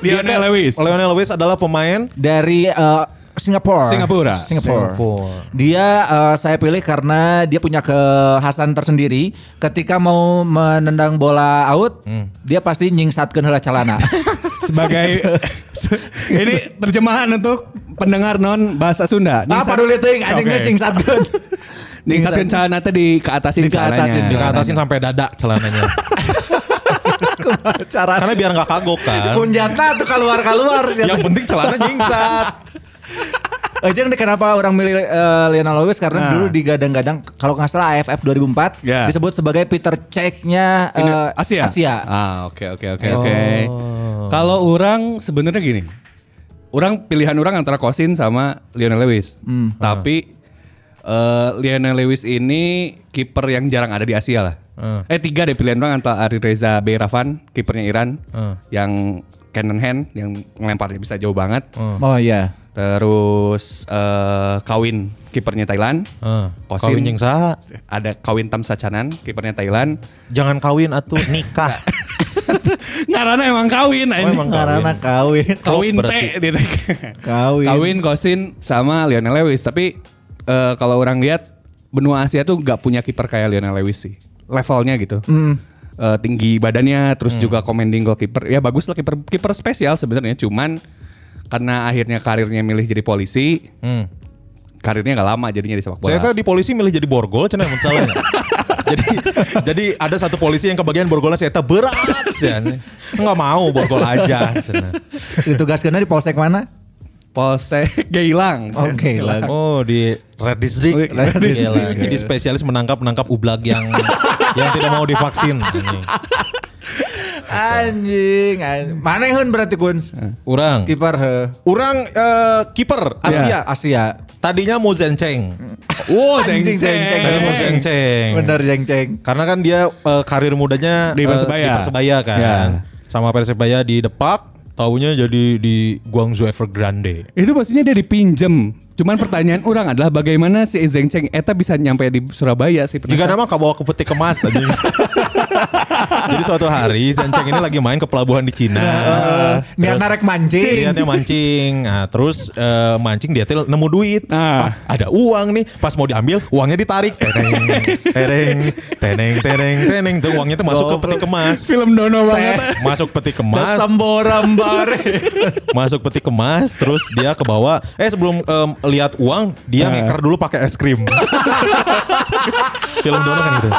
Speaker 6: Lionel
Speaker 5: dia-
Speaker 6: Lewis.
Speaker 5: Lionel Lewis adalah pemain
Speaker 4: Dari eh, Singapura.
Speaker 6: Singapura.
Speaker 4: Singapura.
Speaker 5: Singapura.
Speaker 4: Dia eh, saya pilih karena dia punya kekhasan tersendiri. Ketika mau menendang bola out, dia pasti nyingsatkeun heula calana. <laughs>
Speaker 6: <laughs> Sebagai ini terjemahan untuk pendengar non bahasa Sunda.
Speaker 4: Ah, paduli teuing anjing
Speaker 6: Oke.
Speaker 4: geus nyingsatkeun.
Speaker 6: Disatkan celana teh di ke atasin
Speaker 4: Di ke atasin,
Speaker 5: di
Speaker 4: di
Speaker 6: celananya.
Speaker 4: ke
Speaker 5: atasin sampai dada
Speaker 4: <laughs>
Speaker 5: celananya.
Speaker 4: Cara
Speaker 5: Karena biar nggak kagok kan.
Speaker 4: kunjata tuh keluar-keluar.
Speaker 5: Yang penting celana
Speaker 4: <laughs>
Speaker 5: jingsat.
Speaker 4: Aja nih Eh, kenapa orang milih eh, Lionel Lewis karena
Speaker 6: Nah.
Speaker 4: dulu digadang-gadang kalau nggak salah AFF 2004
Speaker 6: Ya.
Speaker 4: disebut sebagai Peter Cech-nya eh,
Speaker 6: Ini Asia.
Speaker 4: Asia.
Speaker 6: Ah, oke oke oke oke. Kalau orang sebenarnya gini. Orang pilihan orang antara Kosin sama Lionel Lewis. Tapi eh, Lionel Lewis ini kiper yang jarang ada di Asia lah.
Speaker 5: Hmm.
Speaker 6: Eh tiga deh pilihan orang antara Ari Reza Beiravan, kipernya Iran,
Speaker 5: Hmm.
Speaker 6: yang cannon hand yang ngelemparnya bisa jauh banget.
Speaker 4: Oh iya.
Speaker 6: Terus eh, Kawin kipernya Thailand.
Speaker 4: Eh,
Speaker 5: Ah,
Speaker 6: Kosin.
Speaker 5: Kawin jeung saha?
Speaker 6: Ada Kawin Tamsachanan kipernya Thailand.
Speaker 5: Jangan kawin atuh
Speaker 4: <laughs>
Speaker 5: nikah.
Speaker 6: Ngarana emang kawin
Speaker 5: Oh, emang
Speaker 4: Karena kawin.
Speaker 5: kawin.
Speaker 6: Kawin
Speaker 5: Berarti.
Speaker 6: teh dia teh.
Speaker 4: Kawin.
Speaker 6: Kawin Kosin sama Lionel Lewis, tapi eh, kalau orang lihat benua Asia tuh nggak punya kiper kayak Lionel Lewis sih. Levelnya gitu.
Speaker 4: Hmm.
Speaker 6: Eh, tinggi badannya terus juga commanding goalkeeper. Ya bagus lah kiper kiper spesial sebenarnya, cuman karena akhirnya karirnya milih jadi polisi,
Speaker 5: Hmm.
Speaker 6: karirnya nggak lama jadinya di sepak
Speaker 5: Saya
Speaker 6: bola.
Speaker 5: tuh
Speaker 4: kan-
Speaker 5: di polisi milih jadi borgol cenah mun salah.
Speaker 4: <laughs>
Speaker 5: jadi jadi ada satu polisi yang kebagian borgolnya saya tuh berat cenah. Enggak mau borgol aja cenah.
Speaker 4: Ditugaskeunna di polsek mana?
Speaker 6: Polsek Geilang.
Speaker 4: Oke lah.
Speaker 5: Oh di Red District.
Speaker 6: Red
Speaker 5: Red
Speaker 6: District.
Speaker 5: District. Gila. Jadi spesialis menangkap menangkap ublag <laughs> yang yang tidak mau divaksin.
Speaker 4: Anjing. anjing. Maneheun berarti Guns.
Speaker 5: Urang.
Speaker 4: Kiper he.
Speaker 5: Urang eh, kiper Asia.
Speaker 4: Iya,
Speaker 5: Hmm.
Speaker 4: Asia.
Speaker 5: Tadinya mau zenceng.
Speaker 6: Wow, zeng
Speaker 4: Anjing,
Speaker 6: zeng.
Speaker 4: zeng-zeng.
Speaker 5: Tadinya mau zenceng.
Speaker 4: Bener jeng ceng.
Speaker 5: Karena kan dia eh, karir mudanya
Speaker 6: Di
Speaker 5: eh,
Speaker 6: Persebaya.
Speaker 5: di Persebaya kan.
Speaker 6: Ya.
Speaker 5: Sama Persebaya di Depak, taunya jadi di Guangzhou Evergrande.
Speaker 6: Itu pastinya dia dipinjem Cuman pertanyaan orang adalah bagaimana si Zengceng Eta bisa nyampe di Surabaya sih
Speaker 5: Jika nama kau bawa ke peti kemas aja. Jadi suatu hari Zanceng ini lagi main ke pelabuhan di Cina.
Speaker 4: Niat
Speaker 5: Terus-
Speaker 4: narek mancing.
Speaker 5: Niatnya mancing. Nah, terus eh, mancing dia tuh nemu duit.
Speaker 6: Ah.
Speaker 5: Ah, ada uang nih. Pas mau diambil, uangnya ditarik. Tereng, tereng, tereng, tereng, tereng. Tuh uangnya tuh masuk ke peti kemas.
Speaker 6: film Dono banget.
Speaker 5: Masuk peti kemas,
Speaker 4: Samborambare.
Speaker 5: masuk peti kemas, terus dia ke bawah. Eh sebelum em, lihat uang, dia ngeker dulu pakai es krim. Film Dono kan gitu.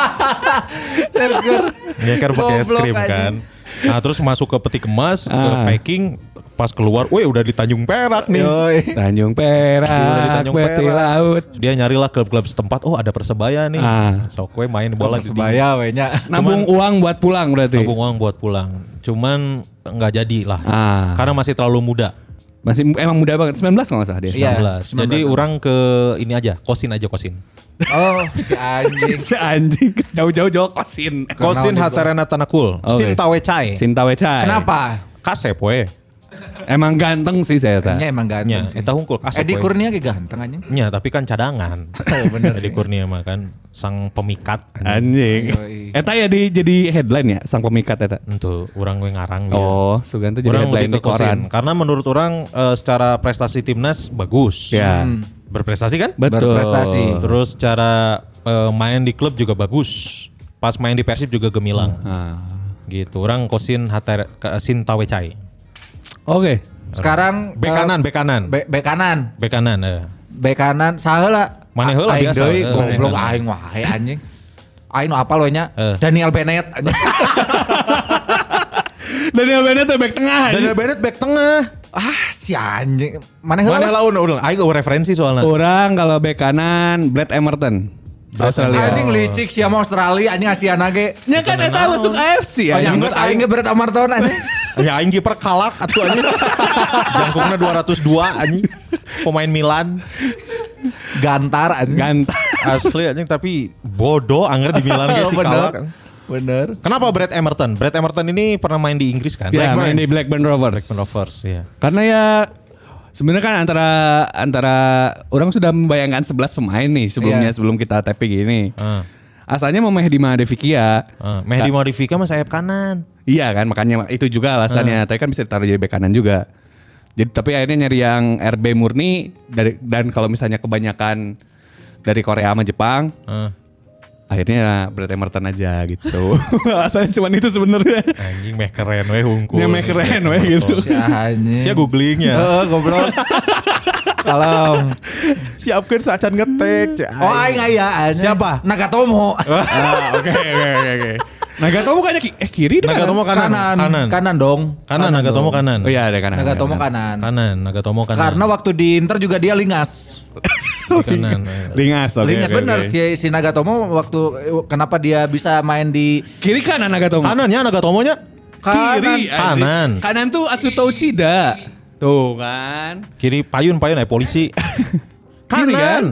Speaker 5: Ngeker pakai es
Speaker 4: Goblok
Speaker 5: krim
Speaker 4: anjing.
Speaker 5: kan. Nah terus masuk ke peti kemas, ke
Speaker 6: Ah.
Speaker 5: packing, pas keluar, weh udah di Tanjung Perak nih.
Speaker 6: Tanjung
Speaker 5: Dari
Speaker 6: Perak,
Speaker 5: Tanjung
Speaker 6: Beti
Speaker 5: Perak.
Speaker 6: Laut.
Speaker 5: Dia nyarilah klub-klub setempat, oh ada Persebaya nih.
Speaker 6: Ah.
Speaker 5: Sok we main bola di
Speaker 4: Persebaya wenya.
Speaker 6: Nabung uang buat pulang berarti.
Speaker 5: Nabung uang buat pulang. Cuman nggak jadi lah.
Speaker 6: Ah.
Speaker 5: Karena masih terlalu muda.
Speaker 6: Masih emang muda banget, 19 kalau nggak salah dia.
Speaker 4: Iya,
Speaker 5: 19. Jadi
Speaker 4: 19.
Speaker 5: orang ke ini aja, kosin aja kosin.
Speaker 4: Oh, si anjing.
Speaker 6: Si anjing jauh-jauh jauh kosin.
Speaker 5: Kosin hatarena tanakul.
Speaker 6: Oke.
Speaker 5: Sin tawe cai.
Speaker 6: Sinta Wecai.
Speaker 4: Kenapa?
Speaker 5: Kasep we.
Speaker 6: Emang ganteng sih saya
Speaker 4: Nya
Speaker 6: tahu.
Speaker 4: Iya, emang
Speaker 5: Nya,
Speaker 4: ganteng sih.
Speaker 5: eta hungkul kasep
Speaker 4: Edi
Speaker 5: we.
Speaker 4: Kurnia ge ganteng anjing.
Speaker 5: Nya, tapi kan cadangan.
Speaker 4: Oh,
Speaker 5: <laughs>
Speaker 4: bener
Speaker 5: Jadi
Speaker 4: sih.
Speaker 5: Kurnia mah kan sang pemikat.
Speaker 6: Anjing.
Speaker 4: Yoi.
Speaker 6: Eta ya di, jadi headline ya, sang pemikat Eta.
Speaker 5: Untuk orang we ngarang dia.
Speaker 6: Oh, Suganto jadi
Speaker 5: Iya. orang
Speaker 6: headline
Speaker 5: lebih
Speaker 6: di
Speaker 5: ke kosin.
Speaker 6: koran.
Speaker 5: Karena menurut orang eh, secara prestasi timnas bagus.
Speaker 6: Ya.
Speaker 5: Berprestasi kan?
Speaker 6: Betul.
Speaker 4: Berprestasi.
Speaker 5: Terus cara eh, main di klub juga bagus. Pas main di Persib juga gemilang.
Speaker 6: Ah.
Speaker 5: Gitu. Orang kosin hatar ke- sin tawe cai.
Speaker 6: Oke.
Speaker 4: Sekarang eh,
Speaker 6: Eh,
Speaker 5: Bek kanan, bek kanan.
Speaker 4: Be- bek kanan,
Speaker 5: Bek kanan. eh.
Speaker 4: bek kanan saheula.
Speaker 5: Maneh heula
Speaker 4: Aing
Speaker 5: biasa.
Speaker 4: deui
Speaker 5: Eh,
Speaker 4: goblok
Speaker 5: maneh.
Speaker 4: aing wae anjing. Aing nu apal we nya?
Speaker 5: Eh.
Speaker 4: Daniel Bennett anjing.
Speaker 6: Daniel Bennett tuh back tengah.
Speaker 5: <laughs> Daniel Bennett back tengah.
Speaker 4: ah, si anjing. Maneh heula?
Speaker 5: Mana
Speaker 4: lah?
Speaker 5: laun ulang. Ayo referensi soalnya.
Speaker 6: Orang kalau back kanan Brad Emerton. Australia.
Speaker 4: Anjing licik sia mah Australia anjing Asiana ge.
Speaker 7: Ya kan Eta masuk AFC
Speaker 4: Oh,
Speaker 6: iya.
Speaker 7: ya.
Speaker 4: nyangkut aing ge berat Amarton
Speaker 5: <laughs>
Speaker 4: anjing.
Speaker 5: Ya aing kiper kalak atuh anjing. Jangkungna 202 anjing. Pemain Milan
Speaker 4: Gantar anjing.
Speaker 6: Ganteng.
Speaker 5: asli anjing tapi bodoh anggar di
Speaker 4: Iya,
Speaker 5: Milan ge si kalak.
Speaker 4: Oh,
Speaker 5: <laughs>
Speaker 4: Bener.
Speaker 5: Kenapa Brad Emerton? Brad Emerton ini pernah main di Inggris kan?
Speaker 6: Ya, main di Blackburn Rovers.
Speaker 5: Blackburn Rovers, ya.
Speaker 6: Karena ya sebenarnya kan antara antara orang sudah membayangkan 11 pemain nih sebelumnya
Speaker 4: Iya.
Speaker 6: sebelum kita tapping gini.
Speaker 5: Ah.
Speaker 6: Asalnya mau Mehdi Mahdevikia.
Speaker 5: Ah, Mehdi Modifika mah sayap kanan.
Speaker 6: Iya kan makanya itu juga
Speaker 5: Ah.
Speaker 6: alasannya. Tapi kan bisa ditaruh jadi bek kanan juga. Jadi tapi akhirnya nyari yang RB murni dari dan kalau misalnya kebanyakan dari Korea sama Jepang
Speaker 5: Ah,
Speaker 6: akhirnya Brad Emerton aja <laughs> gitu. alasannya cuman itu sebenarnya.
Speaker 5: anjing meh keren weh hungkul.
Speaker 6: Yang meh keren weh gitu.
Speaker 4: Si anjing.
Speaker 5: Sia googling ya.
Speaker 4: <laughs> Heeh, goblok. Kalem.
Speaker 5: Siapkan sacan ngetek. cai.
Speaker 4: <laughs> Oh aing aya anjing.
Speaker 5: Siapa?
Speaker 4: Nagatomo.
Speaker 5: Ah, <laughs> Oke oke oke oke.
Speaker 6: Nagatomo kayaknya ki- eh kiri dah.
Speaker 5: Nagatomo kanan.
Speaker 4: Kanan.
Speaker 5: Kanan.
Speaker 4: Kanan dong.
Speaker 5: Kanan Nagatomo
Speaker 4: dong.
Speaker 5: kanan.
Speaker 6: Oh iya ada kanan.
Speaker 4: Nagatomo kanan.
Speaker 5: Kanan Nagatomo kanan.
Speaker 4: Karena waktu di Inter juga dia lingas.
Speaker 5: Di kanan. eh.
Speaker 6: Lingas oke.
Speaker 4: lingas
Speaker 6: oke,
Speaker 4: bener
Speaker 6: oke.
Speaker 4: Si, si Nagatomo waktu eh, kenapa dia bisa main di
Speaker 6: Kiri kanan Nagatomo.
Speaker 5: Kanannya Nagatomonya.
Speaker 4: kanan?
Speaker 6: Kiri, anjing.
Speaker 5: Kanan.
Speaker 6: Kanan tuh Atsuto Uchida. Tuh kan.
Speaker 5: Kiri payun payun eh
Speaker 6: <laughs>
Speaker 5: polisi.
Speaker 6: Kiri, kan?
Speaker 5: kanan.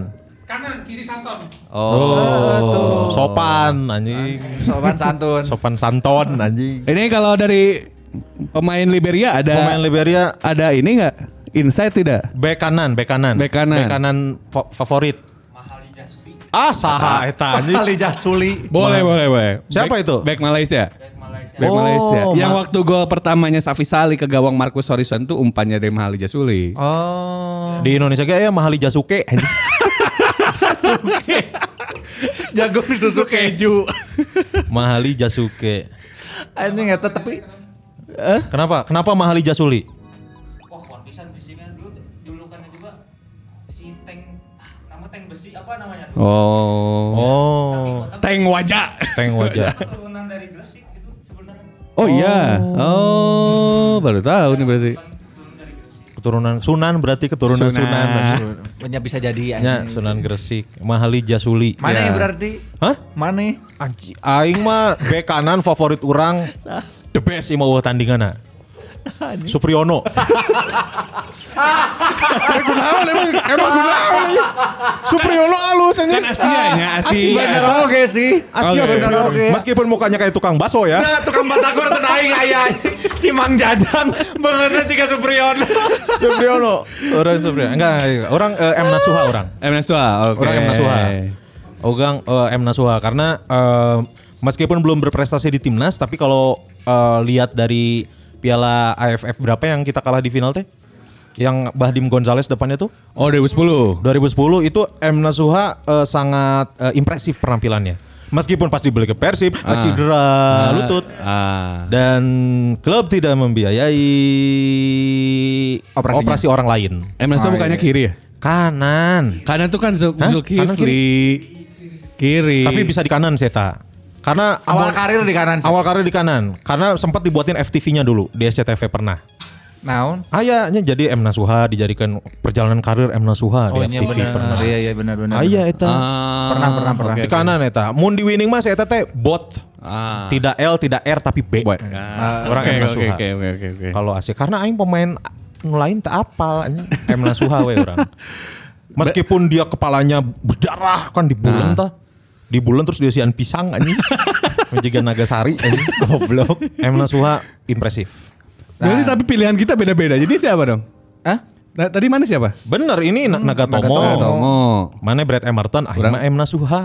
Speaker 7: Kanan, kiri Santon.
Speaker 5: Oh, sopan anjing.
Speaker 4: Sopan santun.
Speaker 5: <laughs> Sopan santon anjing.
Speaker 6: Ini kalau dari pemain Liberia ada
Speaker 5: Pemain Liberia
Speaker 6: ada ini nggak? Insight tidak?
Speaker 5: Bek kanan, bek kanan.
Speaker 6: Bek kanan.
Speaker 5: Bek kanan fa- favorit. Ah, saha eta anjing.
Speaker 4: Ali Jasuli.
Speaker 6: Boleh, boleh, boleh.
Speaker 5: Siapa
Speaker 6: Back-
Speaker 5: itu?
Speaker 6: Back Malaysia. Back
Speaker 5: Oh,
Speaker 6: Malaysia. Yang
Speaker 5: Ma-
Speaker 6: waktu gol pertamanya Safi Sali ke gawang Marcus Horizon tuh umpannya dari Mahali Jasuli.
Speaker 5: <laughs>
Speaker 4: Oh.
Speaker 5: Di Indonesia ge aya Mahali Jasuke.
Speaker 6: <laughs>
Speaker 5: anjing.
Speaker 4: Jago di susu keju.
Speaker 5: Mahali Jasuke.
Speaker 4: Anjing eta tapi
Speaker 5: Kenapa? Kenapa Mahali Jasuli?
Speaker 1: wah konvisan besi kan dulu julukannya juga si tank nama tank besi apa
Speaker 6: <laughs>
Speaker 1: namanya tuh
Speaker 6: Oh.
Speaker 5: Oh.
Speaker 6: Teng wajah.
Speaker 5: Teng wajah.
Speaker 1: turunan dari Gresik gitu sebenarnya
Speaker 6: Oh, iya. Oh, baru tahu nih berarti.
Speaker 5: Keturunan Sunan berarti keturunan Sunan.
Speaker 6: Sunan.
Speaker 4: punya bisa jadi
Speaker 5: Ya,
Speaker 4: anjing.
Speaker 5: Nah. Sunan Gresik. Mahali Jasuli.
Speaker 4: Mana
Speaker 5: Ya.
Speaker 4: yang berarti?
Speaker 5: Hah?
Speaker 4: Mana?
Speaker 5: Anji, aing mah bek kanan favorit orang. The best imah tandingan tandinganna. Supriyono. Eh,
Speaker 6: Kunaon emang emang kunaon ini?
Speaker 5: Supriyono halus anjing.
Speaker 6: Kan Asia nya, Asia.
Speaker 4: Bener oke sih. Asio
Speaker 5: Oke.
Speaker 4: bener oke.
Speaker 5: Meskipun mukanya kayak tukang baso ya.
Speaker 4: Nah, tukang batagor teu aing aya si Mang Jadang beungeutna jiga Supriyon.
Speaker 5: Supriyono. Orang Supriyono. Enggak, enggak. orang eh, M Nasuha orang.
Speaker 6: M Nasuha, oke.
Speaker 5: Orang M Nasuha. Ogang eh, M Nasuha karena eh, meskipun belum berprestasi di timnas tapi kalau eh, lihat dari Piala AFF berapa yang kita kalah di final teh? Yang Bahdim Gonzales depannya tuh
Speaker 6: Oh 2010.
Speaker 5: 2010 itu M Nasuha eh, sangat eh, impresif penampilannya. Meskipun pas dibeli ke Persib, eh,
Speaker 6: Ah.
Speaker 5: cedera lutut.
Speaker 6: Ah.
Speaker 5: Dan klub tidak membiayai
Speaker 4: Operasinya.
Speaker 5: operasi orang lain.
Speaker 6: M Nasuha bukannya kiri ya?
Speaker 5: Kanan.
Speaker 6: Kanan tuh kan Zul-
Speaker 5: Hah?
Speaker 6: Zulkifli.
Speaker 5: Kanan
Speaker 6: Kiri.
Speaker 5: Tapi bisa di kanan Seta. Karena
Speaker 4: Awal karir di kanan.
Speaker 5: awal karir di kanan. Karena sempat dibuatin FTV-nya dulu di SCTV pernah.
Speaker 4: naon?
Speaker 5: Ayahnya jadi M Nasuha dijadikan perjalanan karir M Nasuha
Speaker 4: Oh
Speaker 5: di
Speaker 4: iya
Speaker 5: FTV
Speaker 4: benar.
Speaker 5: pernah.
Speaker 4: Iya iya benar benar.
Speaker 5: Ayah eta.
Speaker 6: Ah,
Speaker 4: Pernah, pernah, pernah.
Speaker 6: oke,
Speaker 5: di
Speaker 6: oke.
Speaker 5: kanan eta. Mun di winning mas eta teh bot.
Speaker 6: Ah.
Speaker 5: Tidak L, tidak R tapi B.
Speaker 6: Buat.
Speaker 5: Orang
Speaker 6: Ah, Oke,
Speaker 5: M
Speaker 6: oke,
Speaker 5: Nasuha.
Speaker 6: oke, oke, oke, oke.
Speaker 5: Kalau asik karena aing pemain nu lain tak apal anjing. M Nasuha we orang. <laughs> Meskipun dia kepalanya berdarah kan di bulan
Speaker 6: Nah.
Speaker 5: tah. Di bulan terus diusian pisang anjing. <laughs> Menjaga Nagasari anjing <laughs> goblok. M Nasuha impresif.
Speaker 6: Berarti tapi pilihan kita beda-beda. Jadi siapa dong?
Speaker 4: Nah. Hah?
Speaker 6: Nah, tadi mana siapa?
Speaker 5: Bener ini Na- Nagatomo. Mana Brad Emerton akhirnya
Speaker 6: Orang-
Speaker 5: M Nasuha.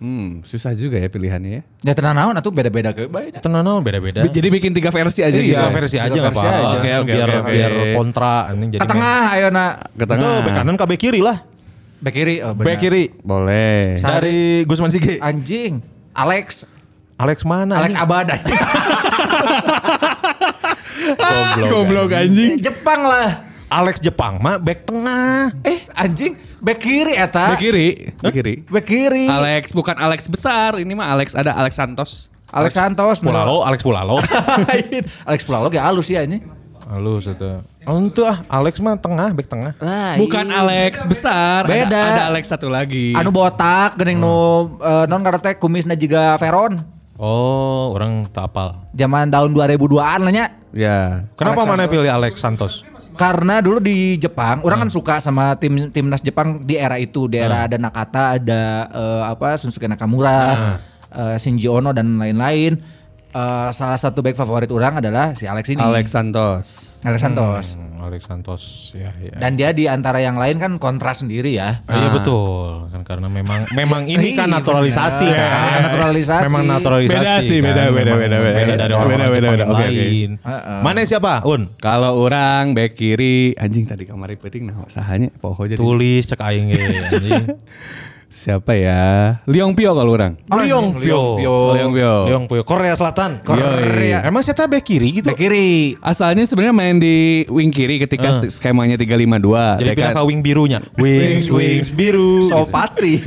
Speaker 6: Hmm, susah juga ya pilihannya. ya.
Speaker 4: Ya tenang naon atuh beda-beda ke bae.
Speaker 5: Tenang naon beda-beda.
Speaker 6: Bi- Jadi bikin tiga versi aja gitu.
Speaker 5: Iya
Speaker 6: ya?
Speaker 5: versi aja
Speaker 4: Tiga
Speaker 5: nggak
Speaker 4: versi
Speaker 5: apa-apa.
Speaker 4: aja.
Speaker 6: Oke, oke,
Speaker 5: biar
Speaker 6: oke,
Speaker 5: biar
Speaker 6: oke.
Speaker 5: kontra anjing jadi.
Speaker 4: Ke tengah ayeuna.
Speaker 6: Ke
Speaker 5: Itu
Speaker 6: tengah.
Speaker 5: bek kanan ke bek kiri lah.
Speaker 4: Bek kiri. Oh, benar.
Speaker 5: Nah. Bek kiri.
Speaker 6: Boleh.
Speaker 4: Sa-
Speaker 5: Dari Gusman Sige.
Speaker 4: Anjing. Alex.
Speaker 5: Alex
Speaker 6: Nah,
Speaker 5: mana?
Speaker 4: Alex
Speaker 5: anjing?
Speaker 4: Abad anjing.
Speaker 5: Goblok.
Speaker 6: <laughs> Goblok anjing.
Speaker 4: <laughs> Jepang lah.
Speaker 5: Alex Jepang mah back tengah.
Speaker 4: Eh anjing bek kiri eta.
Speaker 6: Ke kiri, ke kiri.
Speaker 4: Bek kiri.
Speaker 6: Alex bukan Alex besar, ini mah Alex ada Alex Santos.
Speaker 4: Alex Santos.
Speaker 5: Pulalo, Alex Pulalo.
Speaker 4: <laughs> Alex Pulalo gak halus ya ini.
Speaker 5: Halo, satu. Untuk ah, Alex mah tengah, back tengah.
Speaker 4: Lain.
Speaker 6: Bukan Alex besar, ada-
Speaker 4: Beda.
Speaker 6: Ada, Alex satu lagi.
Speaker 5: Iya.
Speaker 4: Anu botak, gening
Speaker 5: Hmm.
Speaker 4: nu eh, non karena kumisna juga Veron.
Speaker 5: Oh, orang tak apal.
Speaker 4: Zaman tahun 2002-an lah nya.
Speaker 6: ya.
Speaker 5: Kenapa mana pilih Alex Santos?
Speaker 4: Karena dulu di Jepang, orang
Speaker 5: Hmm.
Speaker 4: kan suka sama tim timnas Jepang di era itu, di era ada Nakata, ada eh, apa Sunsuke Nakamura,
Speaker 5: Hmm.
Speaker 4: eh, Shinji Ono dan lain-lain. Eh, salah satu back favorit orang adalah si Alex ini,
Speaker 6: Alex Santos.
Speaker 4: Alex Santos.
Speaker 5: Hmm, Alex Santos, ya, ya.
Speaker 4: Dan dia di antara yang lain kan kontras sendiri ya.
Speaker 5: Ah, Iya betul, kan karena memang memang <laughs> ini kan
Speaker 4: Iya,
Speaker 5: naturalisasi
Speaker 4: benar.
Speaker 5: kan.
Speaker 4: Naturalisasi.
Speaker 5: Memang naturalisasi.
Speaker 6: Beda sih,
Speaker 5: kan.
Speaker 6: beda, beda,
Speaker 5: Memang
Speaker 6: beda, beda.
Speaker 5: dari orang
Speaker 6: Beda, beda,
Speaker 5: Jepang
Speaker 6: beda.
Speaker 5: yang
Speaker 6: Oke, oke.
Speaker 5: lain.
Speaker 4: Heeh.
Speaker 5: Mana siapa? Un.
Speaker 6: Kalau orang back kiri anjing tadi kamari penting nah sahanya poho jadi
Speaker 5: Tulis cek aing ge <laughs> anjing.
Speaker 6: siapa ya? Liong Pio kalau orang.
Speaker 4: Oh, iya.
Speaker 5: Liong Ah, Pio.
Speaker 6: Liong Pio.
Speaker 5: Liong Pio. Korea Selatan.
Speaker 4: Korea.
Speaker 5: Emang saya bek Iya. kiri gitu.
Speaker 4: Back kiri.
Speaker 6: Asalnya sebenarnya main di wing kiri ketika
Speaker 5: Eh.
Speaker 6: skemanya 352.
Speaker 5: Jadi pindah
Speaker 6: Mereka-
Speaker 5: ke kan. wing birunya. Wings, wings biru.
Speaker 4: So pasti.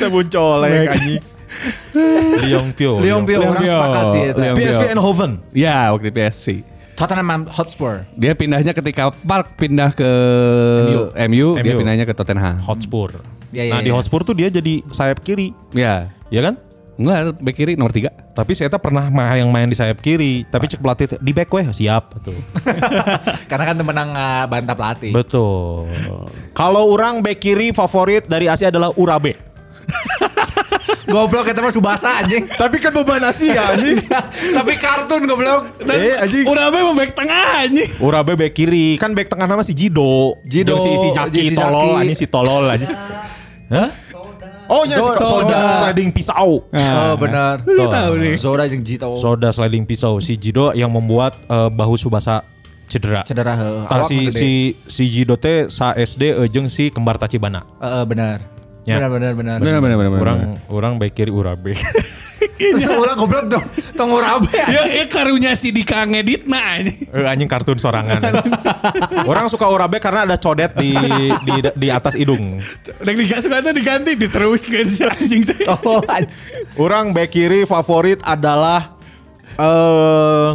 Speaker 5: Sebuncolek <laughs> anjing. <laughs> Liong Pio.
Speaker 4: Leon Pio orang
Speaker 6: Pio.
Speaker 4: sepakat sih itu.
Speaker 6: Leon Pio.
Speaker 5: PSV Eindhoven.
Speaker 6: Ya, waktu PSV.
Speaker 4: Tottenham Hotspur.
Speaker 5: <laughs>
Speaker 6: Dia pindahnya ketika Park pindah ke
Speaker 5: MU.
Speaker 6: MU, dia
Speaker 5: MU.
Speaker 6: pindahnya ke Tottenham.
Speaker 5: Hotspur.
Speaker 4: Ya, ya,
Speaker 5: nah di
Speaker 4: ya.
Speaker 5: Hotspur tuh dia jadi sayap kiri,
Speaker 6: Ya.
Speaker 5: ya kan?
Speaker 6: Enggak, back kiri nomor 3.
Speaker 5: Tapi saya pernah mah yang main di sayap kiri, tapi cek pelatih di back weh siap tuh.
Speaker 4: Karena kan temenang uh, bantah pelatih.
Speaker 5: <laughs> Betul. Kalau orang back kiri favorit dari Asia adalah Urabe.
Speaker 4: Goblok kita mah Subasa anjing.
Speaker 5: <laughs> tapi kan beban Asia anjing.
Speaker 4: <laughs> Tapi kartun goblok.
Speaker 5: eh anjing.
Speaker 6: Urabe mau back tengah anjing.
Speaker 5: Urabe back kiri, kan back tengah nama si Jido.
Speaker 4: Jido,
Speaker 5: Jeung si si Jaki,
Speaker 4: jeung si
Speaker 5: tolol
Speaker 4: Jaki.
Speaker 5: anjing si tolol anjing. Hah? Oh ya, si
Speaker 4: Soda.
Speaker 5: soda sliding pisau.
Speaker 4: Oh benar.
Speaker 5: Tuh. Ah, ya. tahu nih.
Speaker 4: Zora jeung Jito.
Speaker 5: Soda sliding pisau si Jido yang membuat eh, bahu Subasa cedera.
Speaker 4: Cedera heuh.
Speaker 5: Tah si si si Jido teh sa SD jeung si kembar Tachibana.
Speaker 4: Heeh, Eh, benar.
Speaker 5: Ya.
Speaker 4: Benar benar benar.
Speaker 6: Benar benar benar.
Speaker 5: Orang orang baik kiri Urabe. <laughs>
Speaker 4: Ulah goblok dong. Tong Urabe.
Speaker 6: Ya, ya karunya si Dika ngeditna anjing.
Speaker 5: Eh, anjing kartun sorangan. orang suka Urabe karena ada codet di di di atas hidung.
Speaker 6: Dan Dika suka tuh diganti diteruskan si anjing teh.
Speaker 4: Oh, anjing.
Speaker 5: <laughs> Orang back kiri favorit adalah eh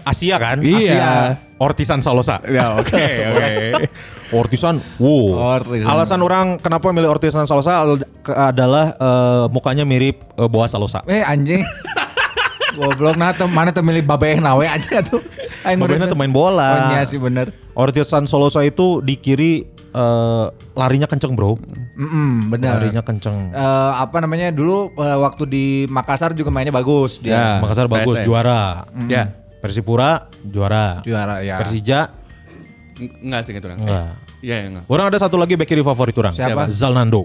Speaker 5: Asia kan?
Speaker 6: Iya.
Speaker 5: Asia. Ortisan Salosa.
Speaker 6: Ya, oke, oke.
Speaker 5: <laughs> Ortisan, wow.
Speaker 4: Ortisan.
Speaker 5: Alasan orang kenapa milih Ortisan Salosa al- ke- adalah eh, mukanya mirip eh, Boas Salosa.
Speaker 4: Eh anjing. Goblok nah tem- mana tuh milih babeh nawe aja tuh. Aing
Speaker 5: Pemainnya
Speaker 4: murid-
Speaker 5: tuh main bola.
Speaker 4: Oh, iya sih bener.
Speaker 5: Ortio San Solosa itu di kiri eh, larinya kenceng bro.
Speaker 4: Mm-mm, bener.
Speaker 5: Larinya kenceng.
Speaker 4: Eh, apa namanya dulu eh, waktu di Makassar juga mainnya bagus dia.
Speaker 5: Ya, Makassar bagus,
Speaker 6: PSM.
Speaker 5: juara.
Speaker 6: Ya.
Speaker 5: Persipura juara.
Speaker 4: Juara ya.
Speaker 5: Persija
Speaker 6: Eng- Enggak sih gitu orang.
Speaker 5: enggak.
Speaker 6: Iya, iya, enggak.
Speaker 5: Orang ada satu lagi back kiri favorit orang.
Speaker 4: Siapa?
Speaker 5: Zalnando.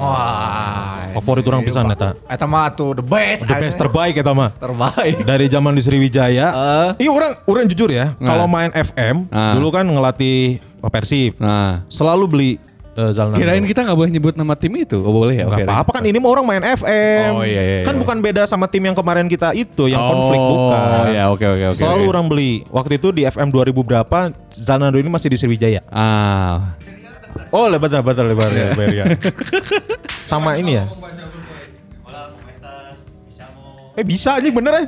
Speaker 4: Wah.
Speaker 5: Favorit orang pisan eta.
Speaker 4: Eta mah tuh the best.
Speaker 5: The best terbaik eta mah. <laughs>
Speaker 4: terbaik.
Speaker 5: Dari zaman di Sriwijaya. Iya orang orang jujur ya, kalau main FM
Speaker 6: Eh? Nah. Ah.
Speaker 5: dulu kan ngelatih Persib
Speaker 6: Nah,
Speaker 5: selalu beli eh, Zalnando.
Speaker 6: kirain kita nggak boleh nyebut nama tim itu. Oh, boleh ya?
Speaker 5: Gak
Speaker 6: oke,
Speaker 5: apa-apa kan ini mah orang main FM.
Speaker 6: Oh, iya, iya,
Speaker 5: Kan
Speaker 6: iya.
Speaker 5: bukan beda sama tim yang kemarin kita itu yang
Speaker 6: Oh,
Speaker 5: konflik bukan.
Speaker 6: iya, oke, oke, oke,
Speaker 5: Selalu
Speaker 6: oke.
Speaker 5: orang beli. Waktu itu di FM 2000 berapa Zalnando ini masih di Sriwijaya.
Speaker 6: Ah,
Speaker 5: Oh, lebar lebar lebar lebar ya. <laughs> Sama ini ya.
Speaker 1: Hola, ¿cómo estás? Me llamo-
Speaker 5: Eh bisa anjing bener ya.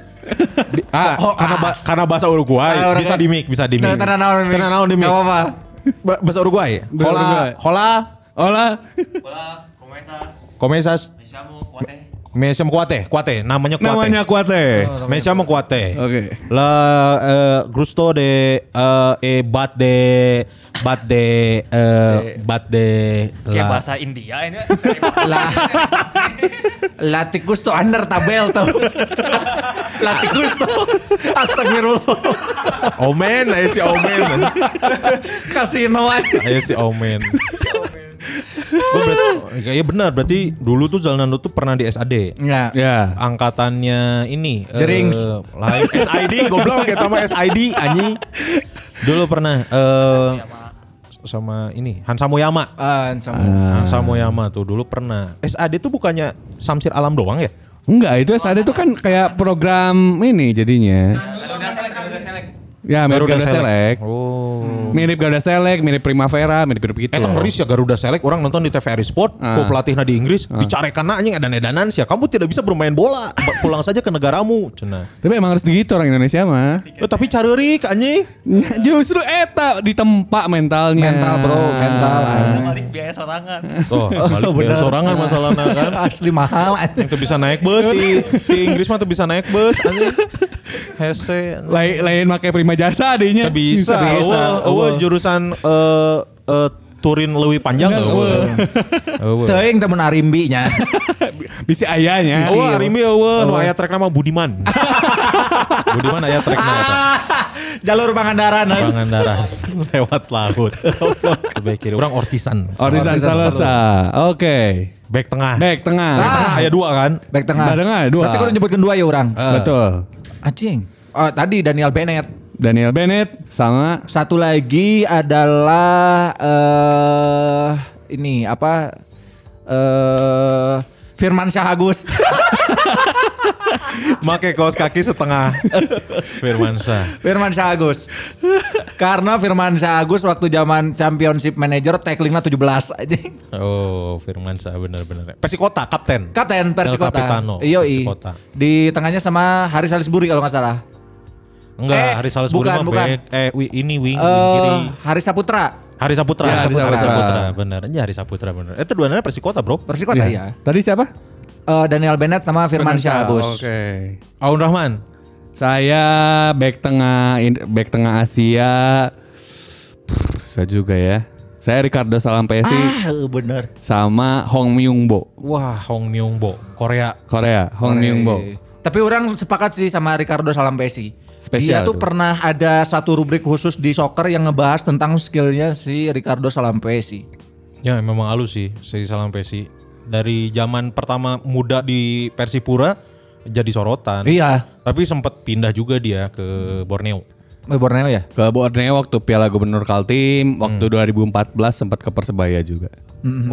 Speaker 5: Di- ah, karena ba- karena bahasa Uruguay
Speaker 4: Ah, orang
Speaker 5: bisa
Speaker 4: kayak-
Speaker 5: di mic, bisa di mic.
Speaker 4: Tenang, tenang, naon di mic.
Speaker 5: Tenang, naon di mic.
Speaker 4: Gak apa-apa.
Speaker 5: Ba- bahasa Uruguay.
Speaker 6: Bahasa
Speaker 5: Hola,
Speaker 6: Uruguay.
Speaker 5: hola.
Speaker 6: Hola.
Speaker 1: Hola, ¿cómo estás?
Speaker 5: Komesas.
Speaker 1: Me llamo Cuate.
Speaker 5: Mesem Kuate, Kuate, namanya Kuate.
Speaker 6: Namanya Kuate.
Speaker 5: Mesem Kuate.
Speaker 6: Oke.
Speaker 5: La eh, gusto de eh, eh bat de bat de eh bat de
Speaker 1: Kayak
Speaker 5: la-
Speaker 1: bahasa India
Speaker 6: <laughs>
Speaker 1: ini.
Speaker 4: Lah. Lah tikus tuh under tabel
Speaker 5: <laughs>
Speaker 4: tuh. Lah tikus tuh. Astagfirullah.
Speaker 5: Omen, ayo si Omen.
Speaker 4: Kasino aja.
Speaker 5: Ayo si Omen. Gua berarti- Iya benar berarti dulu tuh Zalnando tuh pernah di SAD.
Speaker 4: Enggak.
Speaker 6: Ya.
Speaker 5: angkatannya ini eh,
Speaker 4: Jerings.
Speaker 5: lain SID goblok kayak sama SID anjing dulu pernah eh sama ini Hansa Moyama
Speaker 4: Ah, sama.
Speaker 5: Hansa Moyama tuh dulu pernah SAD tuh bukannya Samsir Alam doang ya
Speaker 6: Enggak, itu SAD itu kan kayak program ini jadinya.
Speaker 1: Garuda Select, Garuda Select.
Speaker 6: Ya, mirip
Speaker 5: Garuda
Speaker 6: Garuda
Speaker 5: Select.
Speaker 6: Select.
Speaker 5: oh
Speaker 6: Mirip Garuda Select, mirip Primavera, mirip mirip gitu.
Speaker 5: Eta ngeris ya Garuda Select orang nonton di TVRI Sport,
Speaker 6: Ah.
Speaker 5: ku pelatihna di Inggris, dicarekan anjing edan-edanan sih. Kamu tidak bisa bermain bola, Ba- pulang saja ke negaramu. Cenah.
Speaker 6: Tapi emang harus gitu orang Indonesia mah.
Speaker 5: Eh, tapi careurik anjing.
Speaker 6: Nya, Justru eta ditempa mentalnya.
Speaker 4: Mental, bro, mental.
Speaker 5: Ah.
Speaker 1: Balik biaya sorangan.
Speaker 5: Tuh, Oh, balik biar sorangan masalahnya <laughs> kan.
Speaker 4: Asli mahal aja.
Speaker 5: yang tuh bisa naik bus di, di Inggris mah tuh bisa naik bus anjing hese
Speaker 6: Lain lain pakai prima jasa adanya.
Speaker 5: Teu bisa
Speaker 4: bisa.
Speaker 5: eueuh jurusan eh eh, Turin lebih panjang
Speaker 6: Enggak,
Speaker 5: eueuh eueuh
Speaker 4: Teuing temen Arimbi-nya.
Speaker 6: Bisa ayahnya.
Speaker 5: eueuh Arimi eueuh nu aya trackna mah <laughs> Budiman Budiman aya trackna eta
Speaker 4: <laughs> Jalur eh. Pangandaran.
Speaker 5: Pangandaran <laughs> lewat laut back kiri orang Ortisan
Speaker 6: Orisan Salosa. Oke.
Speaker 5: back tengah
Speaker 6: Back tengah.
Speaker 5: Tengah aya dua kan
Speaker 4: Back tengah.
Speaker 6: Back tengah, dua.
Speaker 4: Berarti kudu nyebutkan dua ya orang.
Speaker 5: Ah.
Speaker 6: Betul.
Speaker 4: Anjing. Oh, tadi Daniel Bennett.
Speaker 6: Daniel Bennett sama
Speaker 4: Satu lagi adalah eh ini apa? Eh Firman Syah Agus. <laughs>
Speaker 5: make kaos kaki setengah <laughs> Firmansyah
Speaker 4: Firman Syah Agus. Karena Firman Syah Agus waktu zaman Championship Manager tacklingnya 17 anjing.
Speaker 5: oh Firmansyah bener-bener Persikota kapten
Speaker 4: <laughs> Kapten
Speaker 5: El
Speaker 4: Persikota.
Speaker 5: Capitano,
Speaker 4: Yoi.
Speaker 5: Persikota.
Speaker 4: Di tengahnya sama Haris Salisbury kalau nggak salah.
Speaker 5: Enggak,
Speaker 4: Eh,
Speaker 5: Haris Salisbury
Speaker 4: bukan,
Speaker 5: mah
Speaker 4: bukan.
Speaker 5: back. Eh, wi- ini wing, wing kiri.
Speaker 4: Eh Haris Saputra.
Speaker 5: Haris Saputra.
Speaker 6: Ya, Haris
Speaker 5: Haris
Speaker 6: Saputra.
Speaker 5: Saputra, bener. Ya, Haris Saputra bener. Itu dua Persikota, Bro.
Speaker 4: Persikota ya.
Speaker 6: Tadi siapa?
Speaker 4: Eh, Daniel Bennett sama Firman Syah Agus.
Speaker 6: Oke.
Speaker 5: Aun Rahman.
Speaker 6: Saya back tengah in- back tengah Asia. Pff, Saya juga ya. Saya Ricardo Salampesi
Speaker 4: Ah, eh, bener.
Speaker 6: sama Hong Myung Bo
Speaker 5: Wah, Hong Myung Bo, Korea.
Speaker 6: Korea. Hong Myung Bo.
Speaker 4: Eh, Tapi orang sepakat sih sama Ricardo Salampesi. Dia
Speaker 6: Spesial
Speaker 4: tuh
Speaker 6: tuh.
Speaker 4: pernah ada satu rubrik khusus di soccer yang ngebahas tentang skillnya si Ricardo Salampesi.
Speaker 5: Ya, memang halus sih si Salampesi. Dari zaman pertama muda di Persipura jadi sorotan.
Speaker 4: Iya.
Speaker 5: Tapi sempat pindah juga dia ke Borneo.
Speaker 4: Eh, Borneo ya?
Speaker 6: Ke Borneo waktu Piala Gubernur
Speaker 5: Hmm.
Speaker 6: Kaltim, waktu 2014 sempat ke Persebaya juga.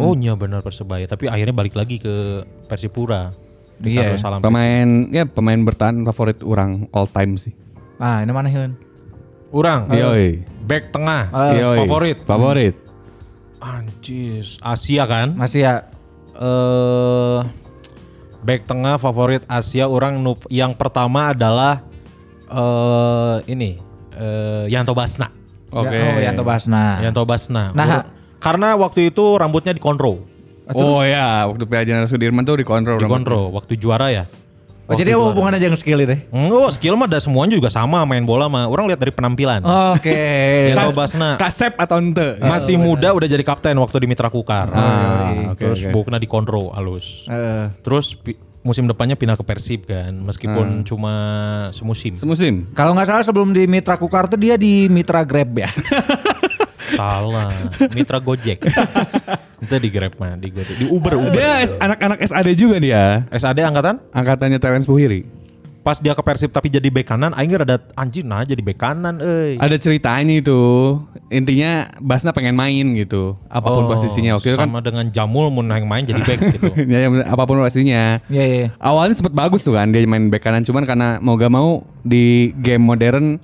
Speaker 5: Oh, iya benar Persebaya, tapi akhirnya balik lagi ke Persipura.
Speaker 4: Iya.
Speaker 5: Ricardo Salampesi.
Speaker 6: Pemain ya pemain bertahan favorit orang all time sih.
Speaker 4: Ah, ini mana Hyun?
Speaker 5: Urang,
Speaker 4: Iya.
Speaker 6: Yoi.
Speaker 5: back tengah,
Speaker 4: Ah,
Speaker 6: Yoi.
Speaker 5: Eh, favorit. Hmm.
Speaker 6: Favorit.
Speaker 5: Anjis, Asia kan?
Speaker 4: Masih ya?
Speaker 5: eh back tengah favorit Asia orang nu yang pertama adalah eh ini eh Yanto Basna.
Speaker 6: Oke.
Speaker 5: Ya,
Speaker 4: Oh, Yanto Basna.
Speaker 5: Yanto Basna.
Speaker 4: Nah.
Speaker 5: Ur- karena waktu itu rambutnya dikontrol,
Speaker 6: Oh ya, waktu Piala Jenderal Sudirman tuh dikontrol. rambutnya.
Speaker 5: dikontrol waktu juara ya.
Speaker 4: Oh, jadi apa hubungannya aja skill itu? ya?
Speaker 5: Hmm, Oh, skill mah ada semuanya juga sama main bola mah. Orang lihat dari penampilan.
Speaker 6: Oh.
Speaker 4: Oke.
Speaker 5: Gelo
Speaker 4: Tas-
Speaker 5: Basna
Speaker 6: Kasep atau ente?
Speaker 5: masih muda udah jadi kapten waktu di Mitra Kukar.
Speaker 6: Oh,
Speaker 5: Nah,
Speaker 6: Ah, oke,
Speaker 5: terus
Speaker 6: oke. Ah.
Speaker 5: Bukna di Konro halus.
Speaker 4: Eh,
Speaker 5: Terus pi- musim depannya pindah ke Persib kan,
Speaker 6: Ah.
Speaker 5: meskipun cuma semusim.
Speaker 6: Semusim.
Speaker 4: kalau nggak salah sebelum di Mitra Kukar tuh dia di Mitra Grab ya. <laughs>
Speaker 5: Salah,
Speaker 6: <laughs>
Speaker 5: Mitra Gojek. Itu di Grab mah, di Gojek, di Uber, Uber.
Speaker 6: Dia S- anak-anak SAD juga dia.
Speaker 5: SAD angkatan?
Speaker 6: Angkatannya Terence Puhiri.
Speaker 5: Pas dia ke Persib tapi jadi bek kanan, aing ada anjir nah jadi bek kanan euy.
Speaker 6: Ada ceritanya itu. Intinya Basna pengen main gitu. Apapun
Speaker 5: Oh,
Speaker 6: posisinya. Oke kan.
Speaker 5: sama dengan Jamul mun yang main jadi bek gitu.
Speaker 6: <laughs> ya, ya, apapun posisinya.
Speaker 4: Iya, iya.
Speaker 6: Awalnya sempat bagus tuh kan dia main back kanan cuman karena mau gak mau di game modern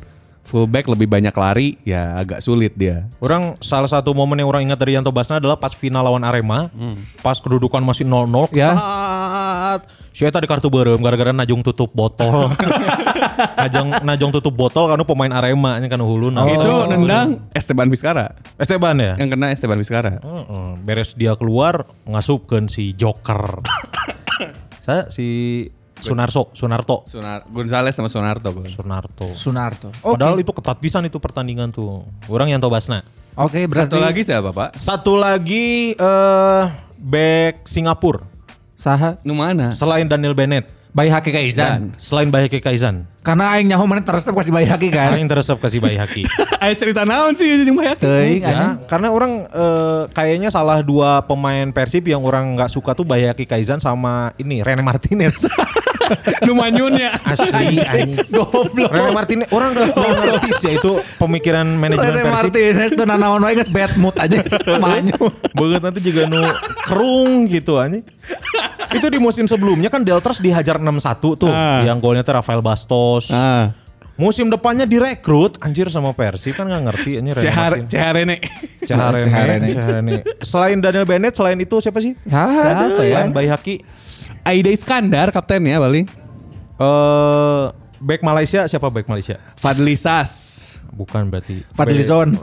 Speaker 6: fullback lebih banyak lari ya agak sulit dia.
Speaker 5: Orang salah satu momen yang orang ingat dari Yanto Basna adalah pas final lawan Arema, pas kedudukan masih 0-0,
Speaker 4: Ya.
Speaker 5: ketat. Si Eta di kartu berem gara-gara najung tutup
Speaker 6: <laughs>
Speaker 5: botol. najung najung tutup botol karena pemain Arema ini kan hulun.
Speaker 6: Oh. Itu nendang Esteban Vizcara.
Speaker 5: Esteban ya.
Speaker 6: Yang kena Esteban Vizcara.
Speaker 5: Heeh, beres dia keluar ngasupkan si
Speaker 6: <coughs>
Speaker 5: Joker. Saya si Sunarso, Sunarto,
Speaker 6: Sunar Gonzales sama Sunarto. Bos.
Speaker 5: Sunarto.
Speaker 4: Sunarto. Oke,
Speaker 5: Padahal itu ketat pisan itu pertandingan tuh. Orang Yanto Basna.
Speaker 4: Oke, berarti
Speaker 6: Satu lagi siapa, Pak?
Speaker 5: Satu lagi eh back Singapura
Speaker 4: Saha
Speaker 6: Nu
Speaker 5: <laughs>
Speaker 6: mana?
Speaker 5: selain Daniel Bennett,
Speaker 4: Bayi Haki Kaizan.
Speaker 5: selain Bayaki Kaizan.
Speaker 4: Karena aing nyaho mana teresep kasih Bayi Haki kan.
Speaker 5: Aing teresep kasih Bayaki.
Speaker 6: Ayo cerita naon sih jeung Mayak?
Speaker 4: Teuing anjing.
Speaker 5: ya, karena orang eh, kayaknya salah dua pemain Persib yang orang nggak suka tuh Bayaki Kaizan sama ini Rene Martinez.
Speaker 6: Nu manyunnya.
Speaker 5: Asli anjing. Goblok. Rene Martinez orang udah nggak ngerti sih itu pemikiran manajemen
Speaker 4: Rene
Speaker 5: Persib.
Speaker 4: Martinez dan nanaon wae geus <laughs> bad mood aja. Manyu.
Speaker 5: <laughs> Banget nanti juga nu kerung gitu anjing. Itu di musim sebelumnya kan Deltras dihajar 6-1 tuh.
Speaker 6: Ah.
Speaker 5: Yang golnya tuh Rafael Bastos.
Speaker 6: Ah.
Speaker 5: Musim depannya direkrut anjir sama Persib kan nggak ngerti anjir Rene
Speaker 6: Cehar
Speaker 5: Martinez. <laughs>
Speaker 6: Ceharene.
Speaker 5: Caharene,
Speaker 4: Caharene.
Speaker 5: Caharene. Selain Daniel Bennett, selain itu siapa sih?
Speaker 4: Saha ya?
Speaker 5: Selain Bayi Haki.
Speaker 6: Aida Iskandar ya, kaptennya paling.
Speaker 5: Eh, back Malaysia, siapa back Malaysia?
Speaker 6: Fadli Sas.
Speaker 5: Bukan berarti.
Speaker 4: Fadlizon.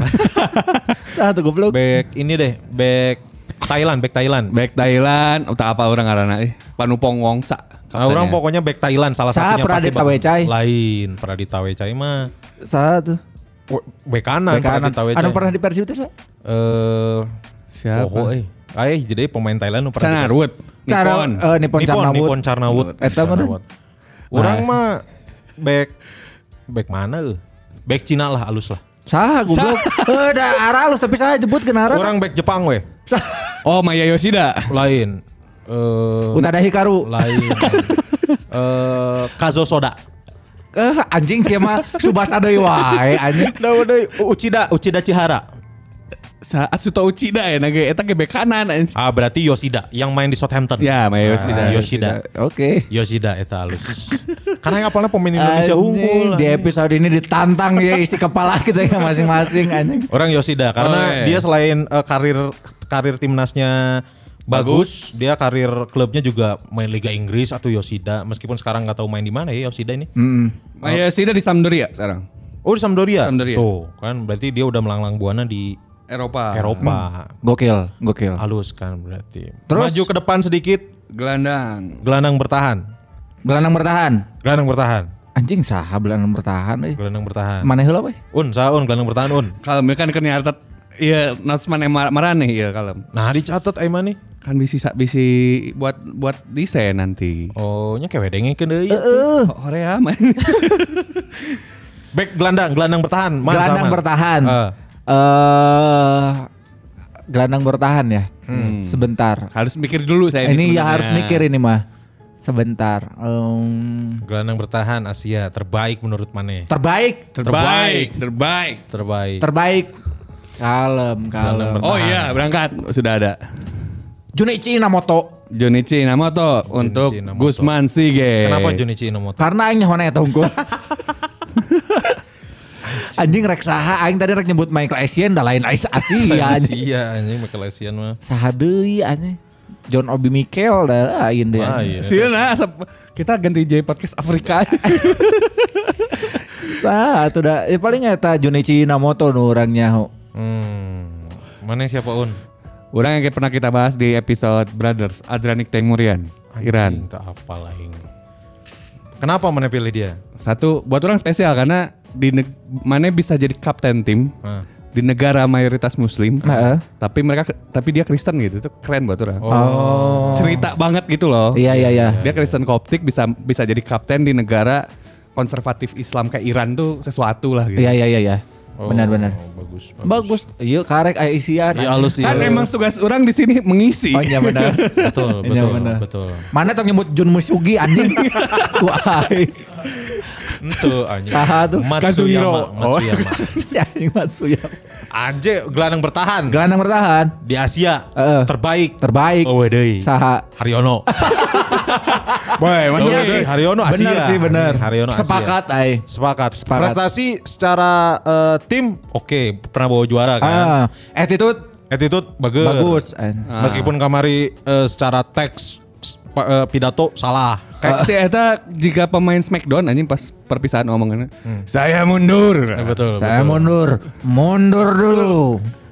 Speaker 4: <laughs> Satu goblok.
Speaker 5: Back ini deh, back Thailand, back Thailand.
Speaker 6: Back Thailand, entah apa orang karena eh Panupong Wongsa.
Speaker 5: Nah, orang pokoknya back Thailand salah
Speaker 4: Sa
Speaker 5: satunya
Speaker 4: Pradita
Speaker 5: bak-
Speaker 4: Wecai.
Speaker 5: Lain Pradita Wecai mah
Speaker 4: Satu.
Speaker 5: w- back kanan
Speaker 4: Bek kanan.
Speaker 5: Pradita Wecai.
Speaker 4: Anu pernah di Persib itu? Sa?
Speaker 5: eh
Speaker 6: Siapa?
Speaker 5: Poho eh. Ayah jadi pemain Thailand nu pernah di-
Speaker 6: Canarwood.
Speaker 4: Cara
Speaker 6: Nippon.
Speaker 4: eh, Nippon Eh,
Speaker 5: Nippon,
Speaker 4: Carnawut.
Speaker 5: Nippon Carnawut.
Speaker 4: Eta mah tuh.
Speaker 5: Carnawut. Orang
Speaker 4: Nah.
Speaker 5: mah back back mana eh? Back Cina lah halus lah.
Speaker 4: Saha <laughs> goblok. Eh da arah alus tapi saha jebut kenara.
Speaker 5: Orang back Jepang weh.
Speaker 6: Oh, Maya Yoshida.
Speaker 5: Lain. Eh
Speaker 4: Utada Hikaru. <laughs>
Speaker 5: lain. Eh Kazo Soda.
Speaker 4: Eh anjing sih mah Subasa deui wae anjing.
Speaker 5: Nah, udah Uchida, Uchida Chihara.
Speaker 6: Sa Atsuto Uchida ya, naga eta ke bek kanan. anjing.
Speaker 5: Ah berarti Yoshida yang main di Southampton.
Speaker 6: Ya,
Speaker 5: Ah,
Speaker 6: Maya Yoshida.
Speaker 5: Yoshida.
Speaker 4: Oke.
Speaker 5: Yoshida eta halus. <laughs> Karena yang apalnya pemain Indonesia
Speaker 4: Anjing,
Speaker 5: unggul.
Speaker 4: Di
Speaker 5: anjing.
Speaker 4: episode ini ditantang ya isi kepala <laughs> kita ya masing-masing anjing.
Speaker 5: Orang Yoshida karena
Speaker 6: Oh, iya.
Speaker 5: dia selain eh, karir karir timnasnya bagus, dia karir klubnya juga main Liga Inggris atau Yoshida meskipun sekarang nggak tahu main di mana ya Yoshida ini.
Speaker 4: Hmm.
Speaker 6: Maya Yoshida di Sampdoria sekarang.
Speaker 5: Oh di Sampdoria.
Speaker 6: Sampdoria.
Speaker 5: Tuh, kan berarti dia udah melanglang buana di
Speaker 4: Ah.
Speaker 6: Eropa.
Speaker 5: Eropa.
Speaker 4: Gokil, gokil.
Speaker 5: Halus kan berarti.
Speaker 4: Terus?
Speaker 5: maju ke depan sedikit,
Speaker 6: Gelandang.
Speaker 5: gelandang bertahan.
Speaker 4: Gelandang bertahan.
Speaker 5: Gelandang bertahan.
Speaker 4: Anjing saha gelandang bertahan euy.
Speaker 5: Gelandang bertahan.
Speaker 4: Mana heula weh?
Speaker 5: Un, saun gelandang bertahan un.
Speaker 6: Kalem ya kan kan nyarta Iya, Natsman yang mar- marane ya kalem.
Speaker 5: Nah, dicatat ai mah nih.
Speaker 6: Kan bisi sa- bisi buat buat desain nanti.
Speaker 5: Oh, nya kewe dengekeun deui.
Speaker 4: Eh,
Speaker 6: Ho- Horea man. <laughs>
Speaker 5: Back gelandang, gelandang bertahan. Mana
Speaker 4: Gelandang
Speaker 5: sama?
Speaker 4: bertahan.
Speaker 5: Eh.
Speaker 4: Eh gelandang bertahan ya. Sebentar.
Speaker 6: harus mikir dulu saya
Speaker 4: ini ya
Speaker 6: sebenarnya.
Speaker 4: harus mikir ini mah. Sebentar. Em,
Speaker 5: Gelandang bertahan Asia terbaik menurut Mane.
Speaker 4: terbaik,
Speaker 6: Terbaik, terbaik.
Speaker 5: Terbaik.
Speaker 4: terbaik. Kalem,
Speaker 5: Gelandang
Speaker 4: kalem.
Speaker 5: bertahan.
Speaker 6: Oh iya, berangkat sudah ada.
Speaker 4: Junichi Inamoto
Speaker 6: Junichi Inamoto untuk
Speaker 5: Inamoto.
Speaker 6: Gusman Sige.
Speaker 5: Kenapa Junichi Inomoto?
Speaker 4: karena aing nyaho eta <laughs> unggul. anjing rek saha aing tadi rek nyebut Michael Asian da lain <laughs> Ais Asia anjing.
Speaker 5: Iya anjing Michael Asian mah.
Speaker 4: Saha deui anjing. John Obi Mikel da lain deh.
Speaker 5: Wah, iya.
Speaker 6: Sieuna asap kita ganti J podcast Afrika.
Speaker 4: Saha atuh da ya, paling eta Junichi Inamoto nu Oh. urang nyaho.
Speaker 5: Hmm. Mana siapa Un?
Speaker 6: <laughs> Orang yang kayak pernah kita bahas di episode Brothers Adranik Tengmurian, Iran.
Speaker 5: Entah apa lain. Kenapa mana pilih dia?
Speaker 6: Satu buat orang spesial karena di neg- mana bisa jadi kapten tim
Speaker 5: Hah.
Speaker 6: di negara mayoritas muslim.
Speaker 4: Heeh.
Speaker 6: Tapi mereka tapi dia Kristen gitu. Itu keren buat orang.
Speaker 4: Oh.
Speaker 6: Cerita banget gitu loh.
Speaker 4: Iya iya iya.
Speaker 6: Dia Kristen Koptik bisa bisa jadi kapten di negara konservatif Islam kayak Iran tuh sesuatu lah gitu.
Speaker 4: Iya iya iya iya. Benar benar.
Speaker 5: Oh, Bagus.
Speaker 4: Bagus. Iya karek aya isian.
Speaker 5: Iya halus
Speaker 6: Kan
Speaker 5: iya.
Speaker 6: emang tugas orang di sini mengisi.
Speaker 4: Oh iya
Speaker 5: <laughs>
Speaker 4: benar. Iya,
Speaker 5: betul betul
Speaker 4: benar.
Speaker 5: betul.
Speaker 4: Mana tuh nyebut Jun Musugi
Speaker 5: <laughs>
Speaker 4: anjing. Wah.
Speaker 5: Itu anjing.
Speaker 4: Saha tuh? Oh.
Speaker 5: Matsuyama, Matsuyama.
Speaker 4: <laughs> si anjing Matsuya.
Speaker 5: Anjing gelandang bertahan
Speaker 4: Gelandang bertahan
Speaker 5: di Asia
Speaker 4: Heeh.
Speaker 5: terbaik.
Speaker 4: terbaik.
Speaker 5: Oh, deui.
Speaker 4: Saha.
Speaker 5: <laughs> Haryono.
Speaker 4: Boy,
Speaker 5: maksudnya sih, Eh, Haryono Asia. Iya,
Speaker 4: Bener sih bener.
Speaker 5: Haryono Asia.
Speaker 4: Sepakat ai.
Speaker 5: Sepakat.
Speaker 4: Sepakat.
Speaker 5: Prestasi secara eh, tim oke, pernah bawa juara kan.
Speaker 4: Ah, attitude
Speaker 5: Attitude bagus.
Speaker 4: bagus. ai.
Speaker 5: Ah. Meskipun kamari eh, secara teks s- pa- eh, pidato salah.
Speaker 6: Kayak Eh, si Eta jika pemain Smackdown anjing pas perpisahan omongannya.
Speaker 5: Hmm.
Speaker 6: Saya mundur.
Speaker 5: betul.
Speaker 4: Saya mundur, mundur dulu.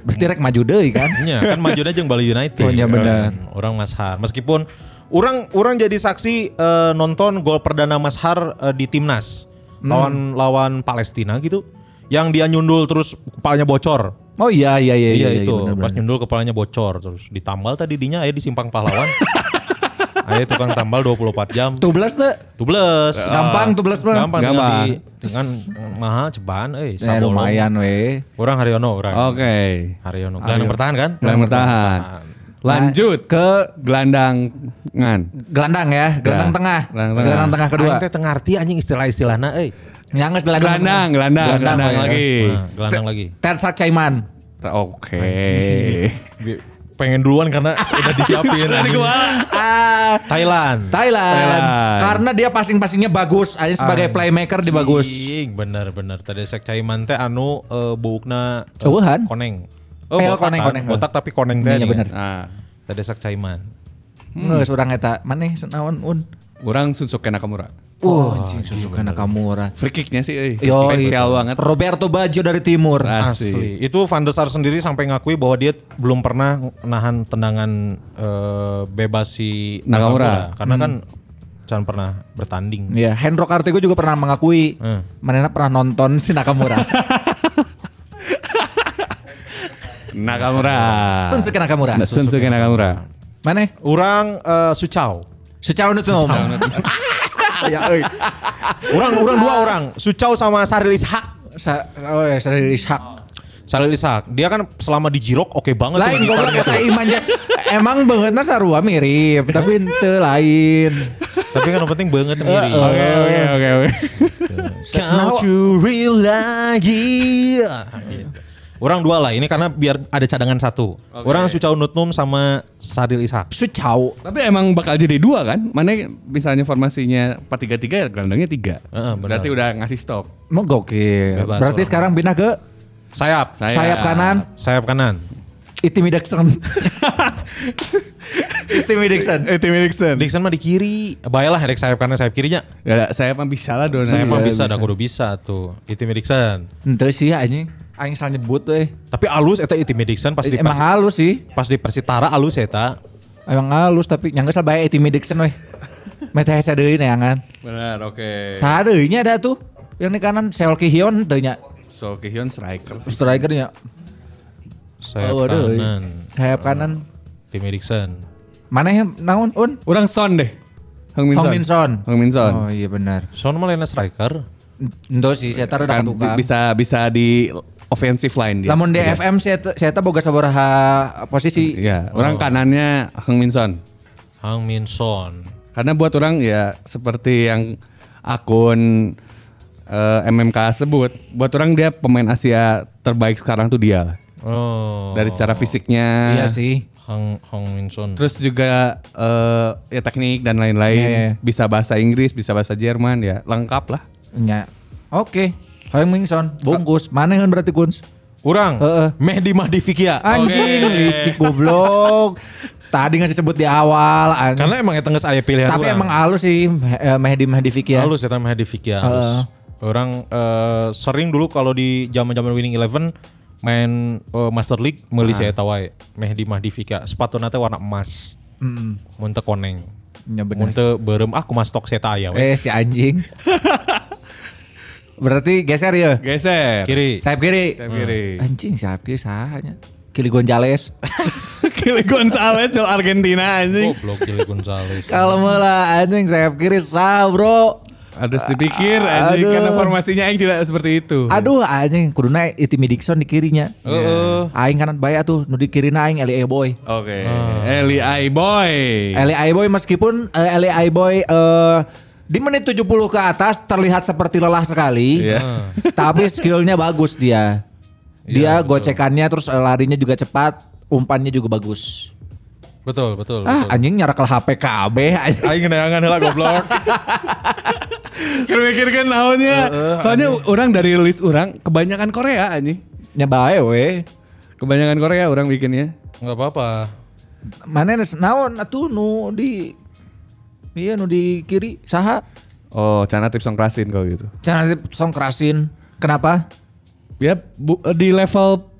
Speaker 4: Berarti rek maju deui kan?
Speaker 5: Iya, kan majunya jeung Bali United.
Speaker 4: Oh, iya
Speaker 5: kan.
Speaker 4: benar.
Speaker 5: Orang Mas Har. Meskipun orang orang jadi saksi eh, nonton gol perdana Mas Har eh, di timnas
Speaker 4: Hmm.
Speaker 5: lawan lawan Palestina gitu. Yang dia nyundul terus kepalanya bocor.
Speaker 4: Oh iya iya iya
Speaker 5: iya, itu.
Speaker 4: bener,
Speaker 5: Pas
Speaker 4: bener.
Speaker 5: nyundul kepalanya bocor terus ditambal tadi dinya aya di simpang
Speaker 4: <laughs>
Speaker 5: pahlawan. aya tukang tambal 24 jam.
Speaker 4: Tubles tuh.
Speaker 5: Tubles.
Speaker 4: Gampang tubles mah.
Speaker 5: Gampang. tinggal
Speaker 6: Gampang.
Speaker 5: di- Dengan mahal cobaan eh
Speaker 4: Ya,
Speaker 5: sabolong.
Speaker 4: lumayan Oh. we.
Speaker 5: Orang Haryono orang.
Speaker 6: Oke.
Speaker 5: Haryono. Gelandang bertahan kan?
Speaker 6: Gelandang bertahan. Lanjut ke gelandangan.
Speaker 4: Gelandang ya, gelandang
Speaker 6: Nah,
Speaker 4: tengah.
Speaker 6: gelandang tengah.
Speaker 4: Gelandang tengah kedua.
Speaker 5: Aing teh teu ngarti anjing istilah-istilahna euy.
Speaker 4: Nyanges gelandang.
Speaker 6: Gelandang, gelandang, gelandang
Speaker 4: we.
Speaker 6: lagi.
Speaker 5: Nah, gelandang lagi.
Speaker 4: Tersa Caiman.
Speaker 6: Oke.
Speaker 5: Pengen duluan karena
Speaker 4: <laughs>
Speaker 5: udah disiapin. anjing. Ah, Thailand.
Speaker 4: Thailand.
Speaker 6: Thailand.
Speaker 4: Karena dia passing-passingnya bagus, aja sebagai playmaker dia bagus.
Speaker 5: Anjing, Bener-bener. Tadi Sek Caiman teh anu eh, boukna eh,
Speaker 4: Eueuhan.
Speaker 5: koneng.
Speaker 4: Eh,
Speaker 5: botak
Speaker 4: koneng,
Speaker 5: kan.
Speaker 4: koneng.
Speaker 5: Botak tapi koneng teh.
Speaker 4: Iya,
Speaker 5: nih.
Speaker 4: bener.
Speaker 6: Nah,
Speaker 5: Tadi Sek Caiman.
Speaker 4: Nggak seorang Hmm. eta, mana senawan un.
Speaker 6: orang Sunsuke Nakamura.
Speaker 4: Wah, anjing Suzuka Nakamura.
Speaker 6: Free kicknya sih, eh,
Speaker 4: Yo,
Speaker 6: spesial
Speaker 5: iya.
Speaker 6: banget.
Speaker 4: Roberto Baggio dari timur.
Speaker 5: Nah, Asli. Itu Van der Sar sendiri sampai ngakui bahwa dia belum pernah nahan tendangan eh, bebas si
Speaker 6: Nakamura.
Speaker 5: Karena
Speaker 4: Hmm.
Speaker 5: kan jangan pernah bertanding.
Speaker 4: Ya, Hendro Kartiko juga pernah mengakui
Speaker 5: Hmm.
Speaker 4: Manena pernah nonton si
Speaker 5: <laughs>
Speaker 4: Nakamura.
Speaker 6: Nakamura.
Speaker 5: Ah.
Speaker 4: Sunsuke Nakamura.
Speaker 5: Nah,
Speaker 6: Sunsuke Nakamura.
Speaker 4: Mana?
Speaker 5: Orang eh, Suchao.
Speaker 4: Secara menurut
Speaker 5: <laughs>
Speaker 4: Ya euy.
Speaker 5: Orang orang dua orang, Suchao sama Saril Ishak.
Speaker 4: Sa oh ya, Saril Ishak.
Speaker 5: Salil Ishak, dia kan selama di Jirok oke banget. tuh
Speaker 4: Lain
Speaker 5: bagi
Speaker 4: goblok
Speaker 5: Korea
Speaker 4: kata
Speaker 5: tuh.
Speaker 4: Iman nya. Emang bangetna sarua mirip, tapi teu lain.
Speaker 5: Tapi kan yang penting banget mirip.
Speaker 6: Oke, oke, oke, oke.
Speaker 5: Can't you realize it? Gitu. Orang dua lah, ini karena biar ada cadangan satu. Orang Suchao Nutnum sama Saril Ishak.
Speaker 4: Sucau.
Speaker 6: Tapi emang bakal jadi dua kan? Mana misalnya formasinya 4-3-3 ya gelandangnya
Speaker 5: Heeh,
Speaker 6: 3.
Speaker 5: benar.
Speaker 6: Berarti udah ngasih stop.
Speaker 4: Mau gokil.
Speaker 5: Bebas
Speaker 4: Berarti
Speaker 5: orang.
Speaker 4: sekarang pindah ke
Speaker 5: Sayap,
Speaker 6: Sayap.
Speaker 4: sayap kanan
Speaker 5: sayap kanan.
Speaker 4: Itimi
Speaker 5: <laughs>
Speaker 4: Dixon. Itimi Dixon.
Speaker 6: Eh, Tim Erikson.
Speaker 5: Dixon mah di kiri, bayalah Dek sayap kanan sayap kirinya.
Speaker 6: Ya, saya mah bisa lah Dona.
Speaker 5: Saya mah
Speaker 4: Iya,
Speaker 5: bisa,
Speaker 4: bisa.
Speaker 5: dah kudu bisa tuh. Itimi Dixon.
Speaker 4: Ente sih ya anjing. Aing salah nyebut euy.
Speaker 5: Tapi alus eta Itimi Dixon pas di
Speaker 4: Eh, Emang
Speaker 5: Persi-
Speaker 4: halus sih.
Speaker 5: pas di Persitara alus eta.
Speaker 4: Emang halus tapi nyangka salah bae Itimi Dixon weh. Mete hesa deui neangan.
Speaker 6: Benar, oke.
Speaker 4: Saha deui nya ada kan? tuh. Yang di kanan Seol Kihyun teu nya.
Speaker 6: So Kihyun striker.
Speaker 4: Striker nya.
Speaker 5: Sayap
Speaker 4: Oh, aduh, euy.
Speaker 5: kanan.
Speaker 4: Sayap kanan.
Speaker 5: Itimi Dixon.
Speaker 4: Mana yang naon un?
Speaker 6: Orang Son deh. Hong Min Son.
Speaker 4: Hong Min Son.
Speaker 6: Hong Min Son.
Speaker 4: Oh iya benar.
Speaker 5: Son mah lainnya striker.
Speaker 4: Endo sih, saya taruh
Speaker 6: Kan
Speaker 4: dekat tukang.
Speaker 6: bi- bisa bisa di offensive line dia.
Speaker 4: Lamun di FM saya saya tahu boga sabaraha posisi.
Speaker 6: Iya, orang kanannya Hong Min Son.
Speaker 5: Hang Min Son.
Speaker 6: Karena buat orang ya seperti yang akun eh, MMK sebut, buat orang dia pemain Asia terbaik sekarang tuh dia lah.
Speaker 5: Oh.
Speaker 6: Dari cara fisiknya.
Speaker 4: Iya sih.
Speaker 5: Hang Hong Min Son.
Speaker 6: Terus juga eh, ya teknik dan lain-lain.
Speaker 4: Iya, iya.
Speaker 6: Bisa bahasa Inggris, bisa bahasa Jerman ya, lengkap lah.
Speaker 4: Nya. Oke. Hoeng Mingson, bungkus. Mana yang berarti kuns?
Speaker 5: Orang
Speaker 4: Heeh.
Speaker 5: Mehdi Mahdi Fikia.
Speaker 4: Anjing, licik goblok. Tadi nggak disebut di awal. anjing.
Speaker 5: Karena emang eta geus aya pilihan
Speaker 4: Tapi
Speaker 5: urang.
Speaker 4: emang halus sih eh, Mehdi Mehdi Fikri ya.
Speaker 5: Ya, halus eta Mehdi Fikia halus. Orang eh, sering dulu kalau di zaman-zaman Winning Eleven main eh, Master League meuli saya wae Mehdi Mahdi Fikia. Sepatuna teh warna emas. Mun teu koneng.
Speaker 4: Ya Hmm. bener.
Speaker 5: Mun teu beureum ah kumaha stok seta aya we.
Speaker 4: Eh si anjing. Berarti geser ya?
Speaker 6: Geser.
Speaker 5: Kiri.
Speaker 4: Sayap kiri.
Speaker 6: Sayap kiri.
Speaker 4: Anjing sayap kiri sahanya. Kili Gonzales.
Speaker 6: Kili Gonzalez jual
Speaker 4: Eh.
Speaker 6: Argentina anjing.
Speaker 5: Goblok Gili
Speaker 4: <laughs>
Speaker 5: Gonzales.
Speaker 4: Kalau malah anjing sayap kiri sah bro.
Speaker 6: Harus dipikir anjing
Speaker 4: Aduh.
Speaker 6: karena formasinya yang tidak seperti itu.
Speaker 4: Aduh anjing kuduna Itimi Dixon di kirinya. Ya.
Speaker 6: Heeh.
Speaker 4: Aing kanan baya tuh, nu di kirina aing LA Boy.
Speaker 6: Oke. Eli I Boy.
Speaker 4: LA Boy meskipun eh, LA Boy eh, di menit 70 ke atas terlihat seperti lelah sekali.
Speaker 6: Iya.
Speaker 4: <laughs> Tapi skillnya bagus dia.
Speaker 5: Iya,
Speaker 4: Dia gocekannya terus eh, larinya juga cepat, umpannya juga bagus.
Speaker 5: Betul, betul,
Speaker 4: Ah
Speaker 5: betul.
Speaker 4: anjing nyarakal HP KB anjing.
Speaker 5: Aing neangan heula <laughs> goblok.
Speaker 6: Kira Kan mikirkan naonnya. Soalnya orang dari list orang kebanyakan Korea anjing.
Speaker 4: <laughs> Nya bae we.
Speaker 6: Kebanyakan Korea orang bikinnya.
Speaker 5: Enggak apa-apa.
Speaker 4: Mana nes- naon atuh nu di Iya nu di kiri saha
Speaker 6: Oh, cana tips songkrasin kalau gitu.
Speaker 4: cara song kerasin. Kenapa?
Speaker 6: Ya bu- di level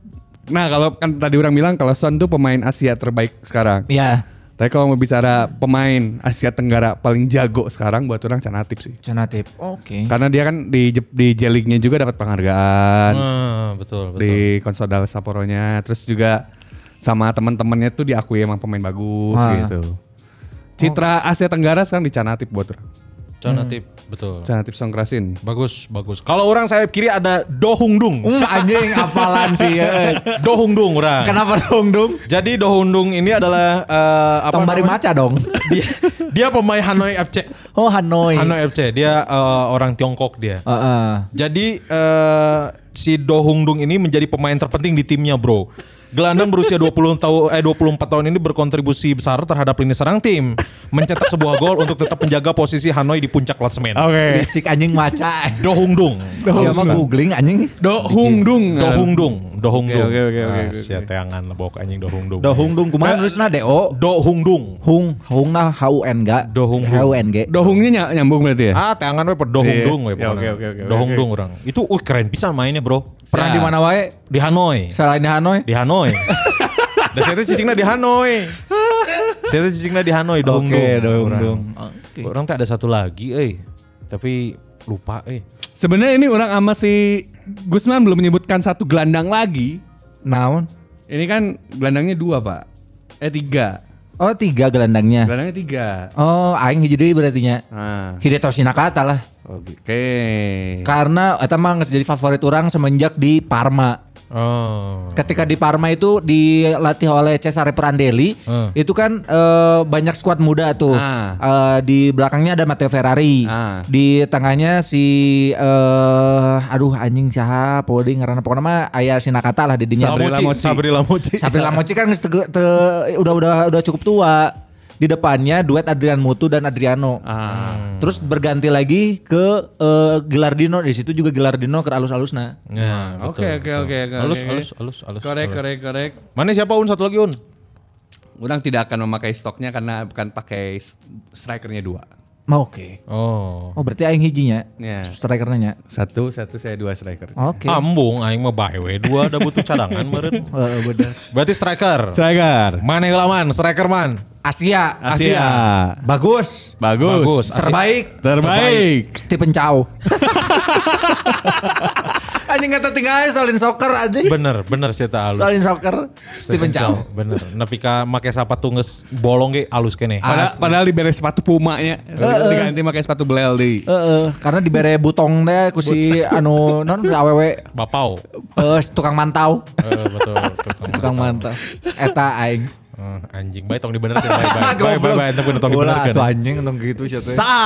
Speaker 6: Nah kalau kan tadi orang bilang kalau Son tuh pemain Asia terbaik sekarang.
Speaker 4: Ya,
Speaker 6: Tapi kalau mau bicara pemain Asia Tenggara paling jago sekarang buat orang Canatip sih.
Speaker 4: Canatip. Oke.
Speaker 5: <laughs>
Speaker 6: Karena dia kan di Jep- di J-League-nya juga dapat penghargaan
Speaker 5: Ah, betul, betul.
Speaker 6: Kan. di Konsodal Sapporo-nya, terus juga sama teman-temannya tuh diakui emang pemain bagus
Speaker 4: Ah.
Speaker 6: gitu. Citra Asia Tenggara sekarang di Canatip buat orang.
Speaker 5: Canatip, betul.
Speaker 6: Canatip Songkrasin.
Speaker 5: Bagus, bagus. Kalau orang sayap kiri ada Dohungdung. Eh,
Speaker 4: Hmm, anjing apalan sih
Speaker 5: <laughs>
Speaker 4: ya.
Speaker 5: Dohungdung orang.
Speaker 4: Kenapa dong dong?
Speaker 5: Jadi Dohundung ini adalah eh, apa
Speaker 4: Tong bari
Speaker 5: namanya?
Speaker 4: maca dong.
Speaker 5: Dia, dia pemain Hanoi FC.
Speaker 4: Oh Hanoi. Heeh.
Speaker 5: Hanoi FC. Dia eh, orang Tiongkok dia. Jadi eh, si Dohungdung ini menjadi pemain terpenting di timnya, Bro. Gelandang berusia
Speaker 6: <laughs>
Speaker 5: 20 tahun eh 24 tahun ini berkontribusi besar terhadap lini serang tim, mencetak sebuah gol untuk tetap menjaga posisi Hanoi di puncak klasemen.
Speaker 6: Ah.
Speaker 4: Licik anjing maca.
Speaker 5: Dohungdung.
Speaker 4: Siapa googling anjing?
Speaker 6: Do Hung Dung.
Speaker 5: Dohungdung, Dohungdung.
Speaker 6: Oke, oke, oke,
Speaker 5: Ah,
Speaker 6: oke,
Speaker 5: sia teangan lebok anjing Dohungdung.
Speaker 4: Dohung dung kumaha nulisna DO.
Speaker 5: Dohungdung.
Speaker 4: Hung, hung nah H U N G.
Speaker 5: Dohung dung.
Speaker 4: H U N G.
Speaker 6: Do Hungnya ny- nyambung berarti ya?
Speaker 5: Ah, tangan we dohungdung we
Speaker 6: Iya,
Speaker 5: pokokna.
Speaker 6: oke, oke, oke,
Speaker 5: Dohungdung orang. Itu uh, keren pisan mainnya, Bro.
Speaker 4: Pernah
Speaker 5: Ya.
Speaker 4: di mana wae?
Speaker 5: Di Hanoi.
Speaker 4: Selain di Hanoi?
Speaker 5: Di <laughs> Hanoi. Dan Nah, saya cicingnya di Hanoi. Saya cicingna di Hanoi dohungdung.
Speaker 4: Oke, dohungdung.
Speaker 5: Orang, orang tak ada satu lagi euy. Tapi lupa eh. euy.
Speaker 6: Sebenarnya ini orang sama si Gusman belum menyebutkan satu gelandang lagi.
Speaker 4: Naon?
Speaker 6: Ini kan gelandangnya dua pak, eh tiga,
Speaker 4: Oh tiga gelandangnya.
Speaker 6: gelandangnya tiga.
Speaker 4: Oh aing hiji deui berarti nya.
Speaker 6: Nah,
Speaker 4: Hidetoshi Nakata lah.
Speaker 6: oke.
Speaker 4: Karena eta mah geus jadi favorit orang semenjak di Parma.
Speaker 5: Oh.
Speaker 4: Ketika di Parma itu dilatih oleh Cesare Prandelli,
Speaker 5: Hmm.
Speaker 4: itu kan eh, banyak skuad muda tuh.
Speaker 6: Ah.
Speaker 4: Eh, di belakangnya ada Matteo Ferrari,
Speaker 6: Ah.
Speaker 4: di tengahnya si eh aduh anjing siapa Podi ngaranna pokoknya mah aya si Nakata lah di dinya.
Speaker 6: Sabri Lamoci.
Speaker 5: Sabri Lamoci.
Speaker 4: Sabri Lamoci kan geus tege- te- udah udah udah cukup tua. Di depannya duet Adrian Mutu dan Adriano.
Speaker 6: Ah. Hmm.
Speaker 4: Terus berganti lagi ke eh, Gelardino di situ juga Gelardino ke alus-alusna.
Speaker 5: Nah,
Speaker 6: Oke
Speaker 5: betul, betul.
Speaker 6: oke oke oke.
Speaker 5: Alus
Speaker 6: oke.
Speaker 5: alus alus alus.
Speaker 6: Korek
Speaker 5: alus.
Speaker 6: korek korek.
Speaker 5: Mana siapa Un satu lagi Un?
Speaker 6: Orang tidak akan memakai stoknya karena bukan pakai s- strikernya dua.
Speaker 4: Mau oke.
Speaker 5: Oh.
Speaker 4: Oh berarti aing hijinya.
Speaker 6: Iya.
Speaker 4: Strikernya nya.
Speaker 6: Satu satu saya dua striker.
Speaker 4: Oke.
Speaker 5: Ambung aing mah bae we dua ada butuh cadangan meureun. <laughs>
Speaker 4: Heeh, eh, bener.
Speaker 5: Berarti striker.
Speaker 6: Striker.
Speaker 5: Mana yang lawan? Striker man.
Speaker 4: Asia.
Speaker 6: Asia.
Speaker 4: Bagus.
Speaker 6: Bagus.
Speaker 5: Bagus. Asia.
Speaker 4: Terbaik.
Speaker 6: Terbaik.
Speaker 4: Stephen Chow. <laughs> anjing kata tinggal soalin soccer anjing.
Speaker 5: Bener, bener sih tak halus.
Speaker 4: Soalin soccer. Stephen Chow.
Speaker 5: Bener. Nepi ka make sepatu geus bolong ge alus kene.
Speaker 6: Padahal, padahal diberi sepatu pumanya diganti pakai sepatu belel di.
Speaker 4: Heeh, Eh, karena dibere butong deh ku si anu non awewe
Speaker 5: Bapau.
Speaker 4: eh, si tukang mantau.
Speaker 5: Eh, betul.
Speaker 4: Si <laughs> tukang mantau. Eta aing.
Speaker 5: Eh, anjing, baik tong
Speaker 4: <laughs>
Speaker 5: dibenerkeun. Baik, baik. Baik, baik, baik. Tong tong
Speaker 4: Bola
Speaker 5: dibenerkeun.
Speaker 4: atuh anjing untung gitu sia teh.
Speaker 5: kan ya? Sa.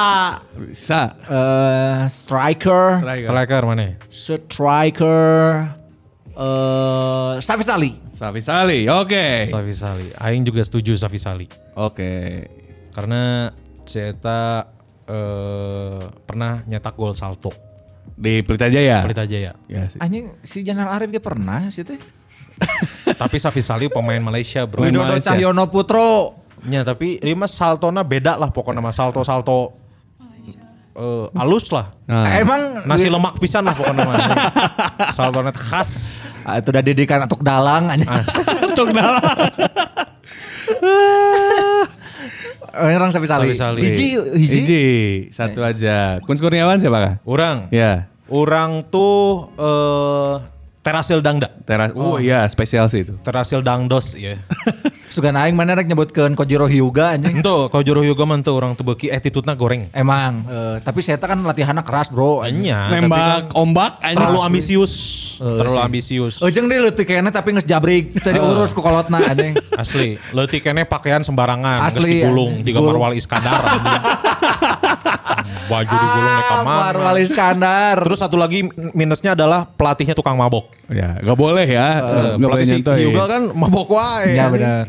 Speaker 6: Bisa.
Speaker 4: Eh, striker.
Speaker 6: Striker.
Speaker 5: Striker mana?
Speaker 4: striker eh Safis Ali.
Speaker 6: Safi Sali. Oke.
Speaker 5: Safi Sali. Aing juga setuju Safi Sali.
Speaker 6: Oke.
Speaker 5: Karena si Eta eh, pernah nyetak gol salto.
Speaker 6: Di Pelita Jaya.
Speaker 5: Pelita Jaya.
Speaker 6: Ya sih.
Speaker 4: Anjing si Janal Arif dia pernah sih teh.
Speaker 5: Tapi Safi Sali pemain Malaysia, bro.
Speaker 6: Widodo
Speaker 4: Widodo
Speaker 6: Malaysia.
Speaker 4: Cahyono Putro.
Speaker 5: Ya tapi ini mah saltona beda lah pokoknya mah salto-salto eh alus lah.
Speaker 4: Ah,
Speaker 6: Nah.
Speaker 4: Emang
Speaker 5: Nasi lemak pisan lah pokoknya mah. saltona teh khas.
Speaker 4: Ah, itu udah didikan atuk Ah. dalang anjing.
Speaker 6: Tok dalam.
Speaker 4: <laughs> orang sapi sali.
Speaker 5: Sapi-sali.
Speaker 4: Hiji, hiji.
Speaker 6: Hiji, Eh. satu aja. Kun Kurniawan siapa kah?
Speaker 5: Orang.
Speaker 4: Iya.
Speaker 6: Ya.
Speaker 5: Orang tuh eh terasil dangda.
Speaker 6: Teras. Oh iya, spesial sih itu.
Speaker 5: Terasil dangdos ya.
Speaker 4: Sugan aing mana rek nyebutkeun Kojiro Hyuga <laughs> anjing.
Speaker 5: Itu kalau Joro Yoga mah tuh orang tuh beki attitude-na goreng.
Speaker 4: Emang, eh, tapi saya kan latihannya keras bro. anjing.
Speaker 5: Enya. tapi
Speaker 6: Nembak
Speaker 4: Oh,
Speaker 6: ombak
Speaker 5: kan
Speaker 6: anjing.
Speaker 5: Terlalu ambisius.
Speaker 4: Eh,
Speaker 5: terlalu
Speaker 4: sih.
Speaker 5: ambisius.
Speaker 4: Ujung dia leutik kayaknya tapi nges jabrik. Tadi urus ku kolotna <laughs> anjing.
Speaker 5: Asli, leutik kene pakaian sembarangan,
Speaker 4: Asli,
Speaker 5: Asli, digulung,
Speaker 4: anjing.
Speaker 5: tiga
Speaker 4: Digulung.
Speaker 5: Marwal Iskandar.
Speaker 4: <laughs>
Speaker 5: anjing. Baju digulung naik
Speaker 4: Ah,
Speaker 5: kamar.
Speaker 4: Marwal Iskandar.
Speaker 5: Terus satu lagi minusnya adalah pelatihnya tukang mabok.
Speaker 6: Ya, gak boleh ya.
Speaker 5: Eh,
Speaker 6: Gak boleh
Speaker 5: pelatih si
Speaker 6: nyentuh.
Speaker 5: Hyuga kan mabok wae.
Speaker 4: Ya
Speaker 5: anjing.
Speaker 4: benar.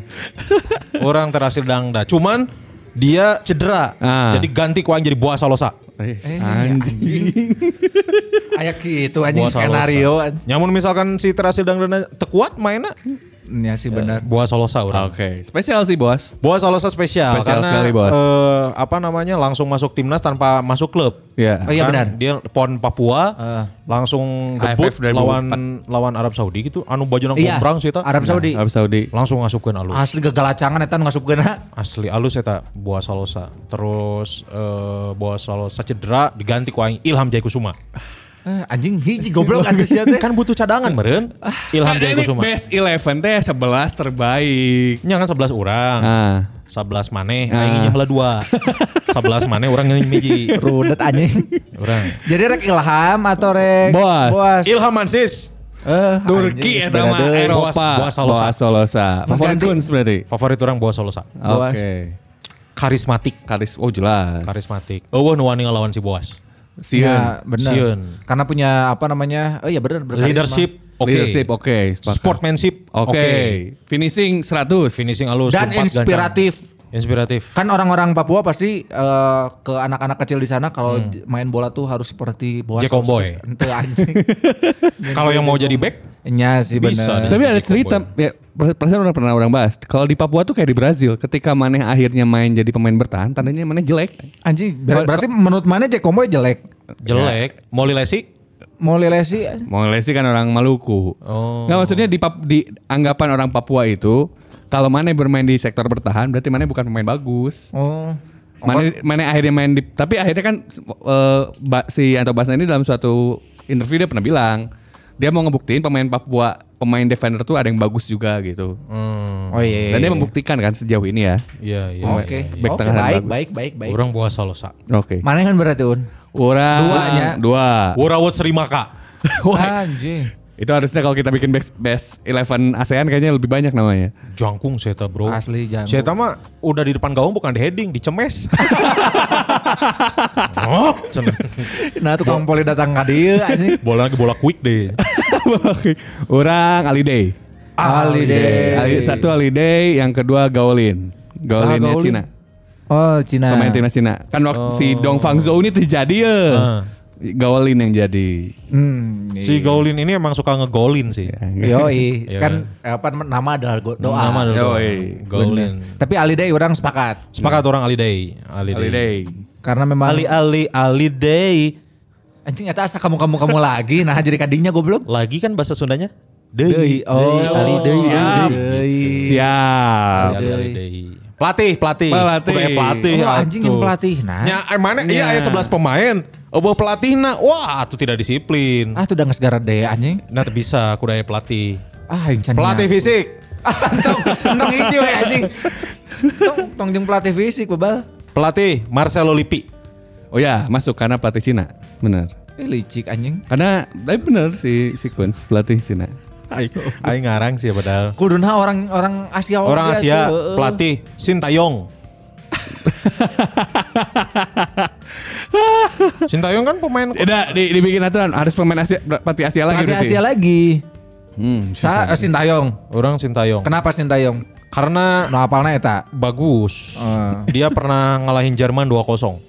Speaker 5: Orang terhasil dangda. Cuman dia cedera.
Speaker 6: Ah.
Speaker 5: Jadi ganti kuang jadi buah salosa.
Speaker 4: Eh,
Speaker 6: Iya,
Speaker 5: iya.
Speaker 6: Anjing.
Speaker 4: Ayak gitu anjing
Speaker 5: Buah salosa.
Speaker 4: skenario anjing.
Speaker 5: Nyamun misalkan si terhasil dangda tekuat mainnya.
Speaker 4: Ya sih benar.
Speaker 5: Buah salosa orang.
Speaker 6: Oke, spesial sih bos.
Speaker 5: Buah salosa spesial.
Speaker 6: Spesial
Speaker 5: karena,
Speaker 6: sekali, Bos.
Speaker 5: eh, apa namanya langsung masuk timnas tanpa masuk klub.
Speaker 4: Oh
Speaker 6: Ya.
Speaker 4: iya
Speaker 5: Kan
Speaker 4: benar.
Speaker 5: Dia PON Papua
Speaker 4: Eh.
Speaker 5: langsung
Speaker 6: AFF
Speaker 5: debut
Speaker 6: 2004.
Speaker 5: lawan lawan Arab Saudi gitu. Anu baju nang
Speaker 4: Iya.
Speaker 5: komprang sih eta.
Speaker 4: Arab Saudi.
Speaker 6: Nah, Arab Saudi.
Speaker 5: Langsung ngasukeun alus.
Speaker 4: Asli gegalacangan eta nu Eh, ngasupkeunna.
Speaker 5: Asli alus eta Buah Salosa. Terus eh Buah Salosa cedera diganti ku aing Ilham Jaikusuma.
Speaker 4: Eh, anjing hiji goblok atuh sia teh.
Speaker 5: kan butuh cadangan meren. Ilham
Speaker 6: Kan ini
Speaker 5: Jaikusuma.
Speaker 6: best 11 teh 11 terbaik.
Speaker 5: Nya kan 11 orang.
Speaker 6: Ah.
Speaker 5: 11 maneh
Speaker 6: Ah.
Speaker 5: aing heula 2. 11 maneh urang yang hiji.
Speaker 4: Rudet anjing.
Speaker 5: Urang.
Speaker 4: Jadi rek Ilham atau rek
Speaker 6: Boas.
Speaker 5: Ilham Mansis.
Speaker 4: Eh, anjing,
Speaker 6: Turki ya, eta mah
Speaker 4: beda deui.
Speaker 6: Eropa.
Speaker 5: Boas- Boas Solosa.
Speaker 6: Boas Solosa. Favorit
Speaker 4: ganti.
Speaker 6: kun berarti.
Speaker 5: Favorit orang Buah Salosa.
Speaker 4: Boas.
Speaker 6: Oke.
Speaker 5: Karismatik.
Speaker 6: Karis oh jelas.
Speaker 5: Karismatik. Eueuh nu wani ngelawan si Boas.
Speaker 6: Sieun.
Speaker 4: Ya, bener.
Speaker 5: Sieun.
Speaker 4: Karena punya apa namanya? Oh iya bener berkarisma.
Speaker 5: Leadership oke.
Speaker 6: Leadership oke. sepakat.
Speaker 5: Sportmanship
Speaker 6: Oke. Finishing 100.
Speaker 5: Finishing halus
Speaker 4: Dan
Speaker 5: lompat,
Speaker 4: inspiratif.
Speaker 5: gancang. Inspiratif.
Speaker 4: Kan orang-orang Papua pasti eh, ke anak-anak kecil di sana kalau j- main bola tuh harus seperti boas.
Speaker 5: Jack Omboy.
Speaker 4: Ente anjing.
Speaker 5: Kalau yang mau jadi back
Speaker 4: Iya sih
Speaker 5: Bisa
Speaker 4: bener.
Speaker 5: deh.
Speaker 6: Tapi ada
Speaker 5: Jadi
Speaker 6: cerita, ya, per- perasaan udah pernah orang bahas. Kalau di Papua tuh kayak di Brazil, ketika Maneh akhirnya main jadi pemain bertahan, tandanya Maneh jelek.
Speaker 4: Anjing, ber- berarti menurut mana Jack Omboy jelek?
Speaker 5: jelek, Ya. Molly Lesik
Speaker 4: Mau lelesi
Speaker 6: Mau Lesi kan orang Maluku.
Speaker 5: Oh.
Speaker 6: Nggak maksudnya di, Pap- di anggapan orang Papua itu, kalau Maneh bermain di sektor bertahan, berarti Maneh bukan pemain bagus.
Speaker 4: Oh.
Speaker 6: Maneh, Maneh akhirnya main di, tapi akhirnya kan eh, Ba- si Anto Basna ini dalam suatu interview dia pernah bilang, dia mau ngebuktiin pemain Papua, pemain defender tuh ada yang bagus juga gitu.
Speaker 4: Oh iya.
Speaker 6: Dan dia membuktikan kan sejauh ini ya.
Speaker 5: Iya, iya.
Speaker 4: Oke.
Speaker 5: iya, iya.
Speaker 6: Back
Speaker 4: Oke,
Speaker 6: tengah dan
Speaker 4: baik,
Speaker 6: bagus.
Speaker 4: baik, baik, baik.
Speaker 5: Orang buah salosa.
Speaker 6: Oke.
Speaker 4: Mana kan berarti Un?
Speaker 6: Orang
Speaker 4: Duanya.
Speaker 6: dua.
Speaker 5: Wurawut Serimaka.
Speaker 4: Anjing.
Speaker 6: Itu harusnya kalau kita bikin best, best 11 ASEAN kayaknya lebih banyak namanya. <laughs>
Speaker 5: Jangkung Seta bro.
Speaker 4: Asli jangkung.
Speaker 5: Seta mah udah di depan gaung bukan di heading, <laughs> dicemes. oh, cenah.
Speaker 4: Nah tukang poli datang ke dia anjing. <laughs>
Speaker 5: bola lagi bola quick deh.
Speaker 6: Oke. Orang Aliday.
Speaker 4: Ah, Ali deh.
Speaker 6: Ali, satu Aliday, yang kedua Gaolin. Gaulinnya
Speaker 5: Gaolin?
Speaker 6: Cina.
Speaker 4: Oh Cina.
Speaker 6: Pemain timnas Cina. Kan waktu si Dong Fangzhou ini terjadi ya.
Speaker 5: Ah.
Speaker 6: Gaolin yang jadi. Ya,
Speaker 4: Hmm,
Speaker 5: si Gaulin ini emang suka ngegolin sih.
Speaker 4: Yoi,
Speaker 5: Iya
Speaker 4: kan apa nama- nama adalah go- doa.
Speaker 5: Nama ada
Speaker 6: Yoi.
Speaker 5: Gaulin. Gaulin.
Speaker 4: Tapi Ali Day orang sepakat
Speaker 5: Sepakat orang Aliday.
Speaker 6: Iya.
Speaker 5: Aliday.
Speaker 6: Aliday.
Speaker 4: karena memang
Speaker 5: Ali Ali Aliday.
Speaker 4: anjing eta asa kamu kamu kamu <laughs> lagi nah jadi kadinya goblok.
Speaker 5: Lagi kan bahasa Sundanya?
Speaker 4: Deui. Oh, Ali Day.
Speaker 6: siap. Siap.
Speaker 5: Ali Aliday. Pelatih, pelatih.
Speaker 6: Pelatih.
Speaker 5: Kudu aya pelatih.
Speaker 4: Oh,
Speaker 5: atuh.
Speaker 4: anjing yang pelatih nah.
Speaker 5: Nya, eh, mana? Iya,
Speaker 6: Nya.
Speaker 5: aya 11 pemain. Oh, Eueuh pelatihna. Wah, itu tidak disiplin.
Speaker 4: Ah tuh udah ngesegara deh anjing.
Speaker 5: Nah, teu bisa kudu aya pelatih.
Speaker 4: Ah yang canya.
Speaker 5: Pelatih fisik.
Speaker 4: tong tong hiji we ya, anjing. Tong tong jeung pelatih fisik bebal.
Speaker 5: Pelatih Marcelo Lippi.
Speaker 6: Oh ya, masuk karena pelatih Cina. Benar.
Speaker 4: Eh licik anjing.
Speaker 6: Karena tapi benar si sequence pelatih Cina.
Speaker 5: Aing aing ngarang sih ya, padahal.
Speaker 4: Kuduna orang orang Asia
Speaker 5: Orang
Speaker 4: Oh, dia
Speaker 5: Asia,
Speaker 4: tuh, eh. heeh.
Speaker 5: pelatih
Speaker 4: <laughs>
Speaker 5: Sintayong. Sintayong kan pemain
Speaker 6: Tidak, di, dibikin aturan harus pemain Asia, pelatih Asia lagi
Speaker 4: Pelatih
Speaker 6: berarti.
Speaker 4: Asia lagi.
Speaker 6: Hmm,
Speaker 4: Sa eh, Sintayong.
Speaker 5: orang Sintayong.
Speaker 4: Kenapa Sintayong? ya,
Speaker 5: Karena
Speaker 4: No apalna eta.
Speaker 5: bagus.
Speaker 4: Ah.
Speaker 5: Dia pernah ngalahin Jerman 2-0.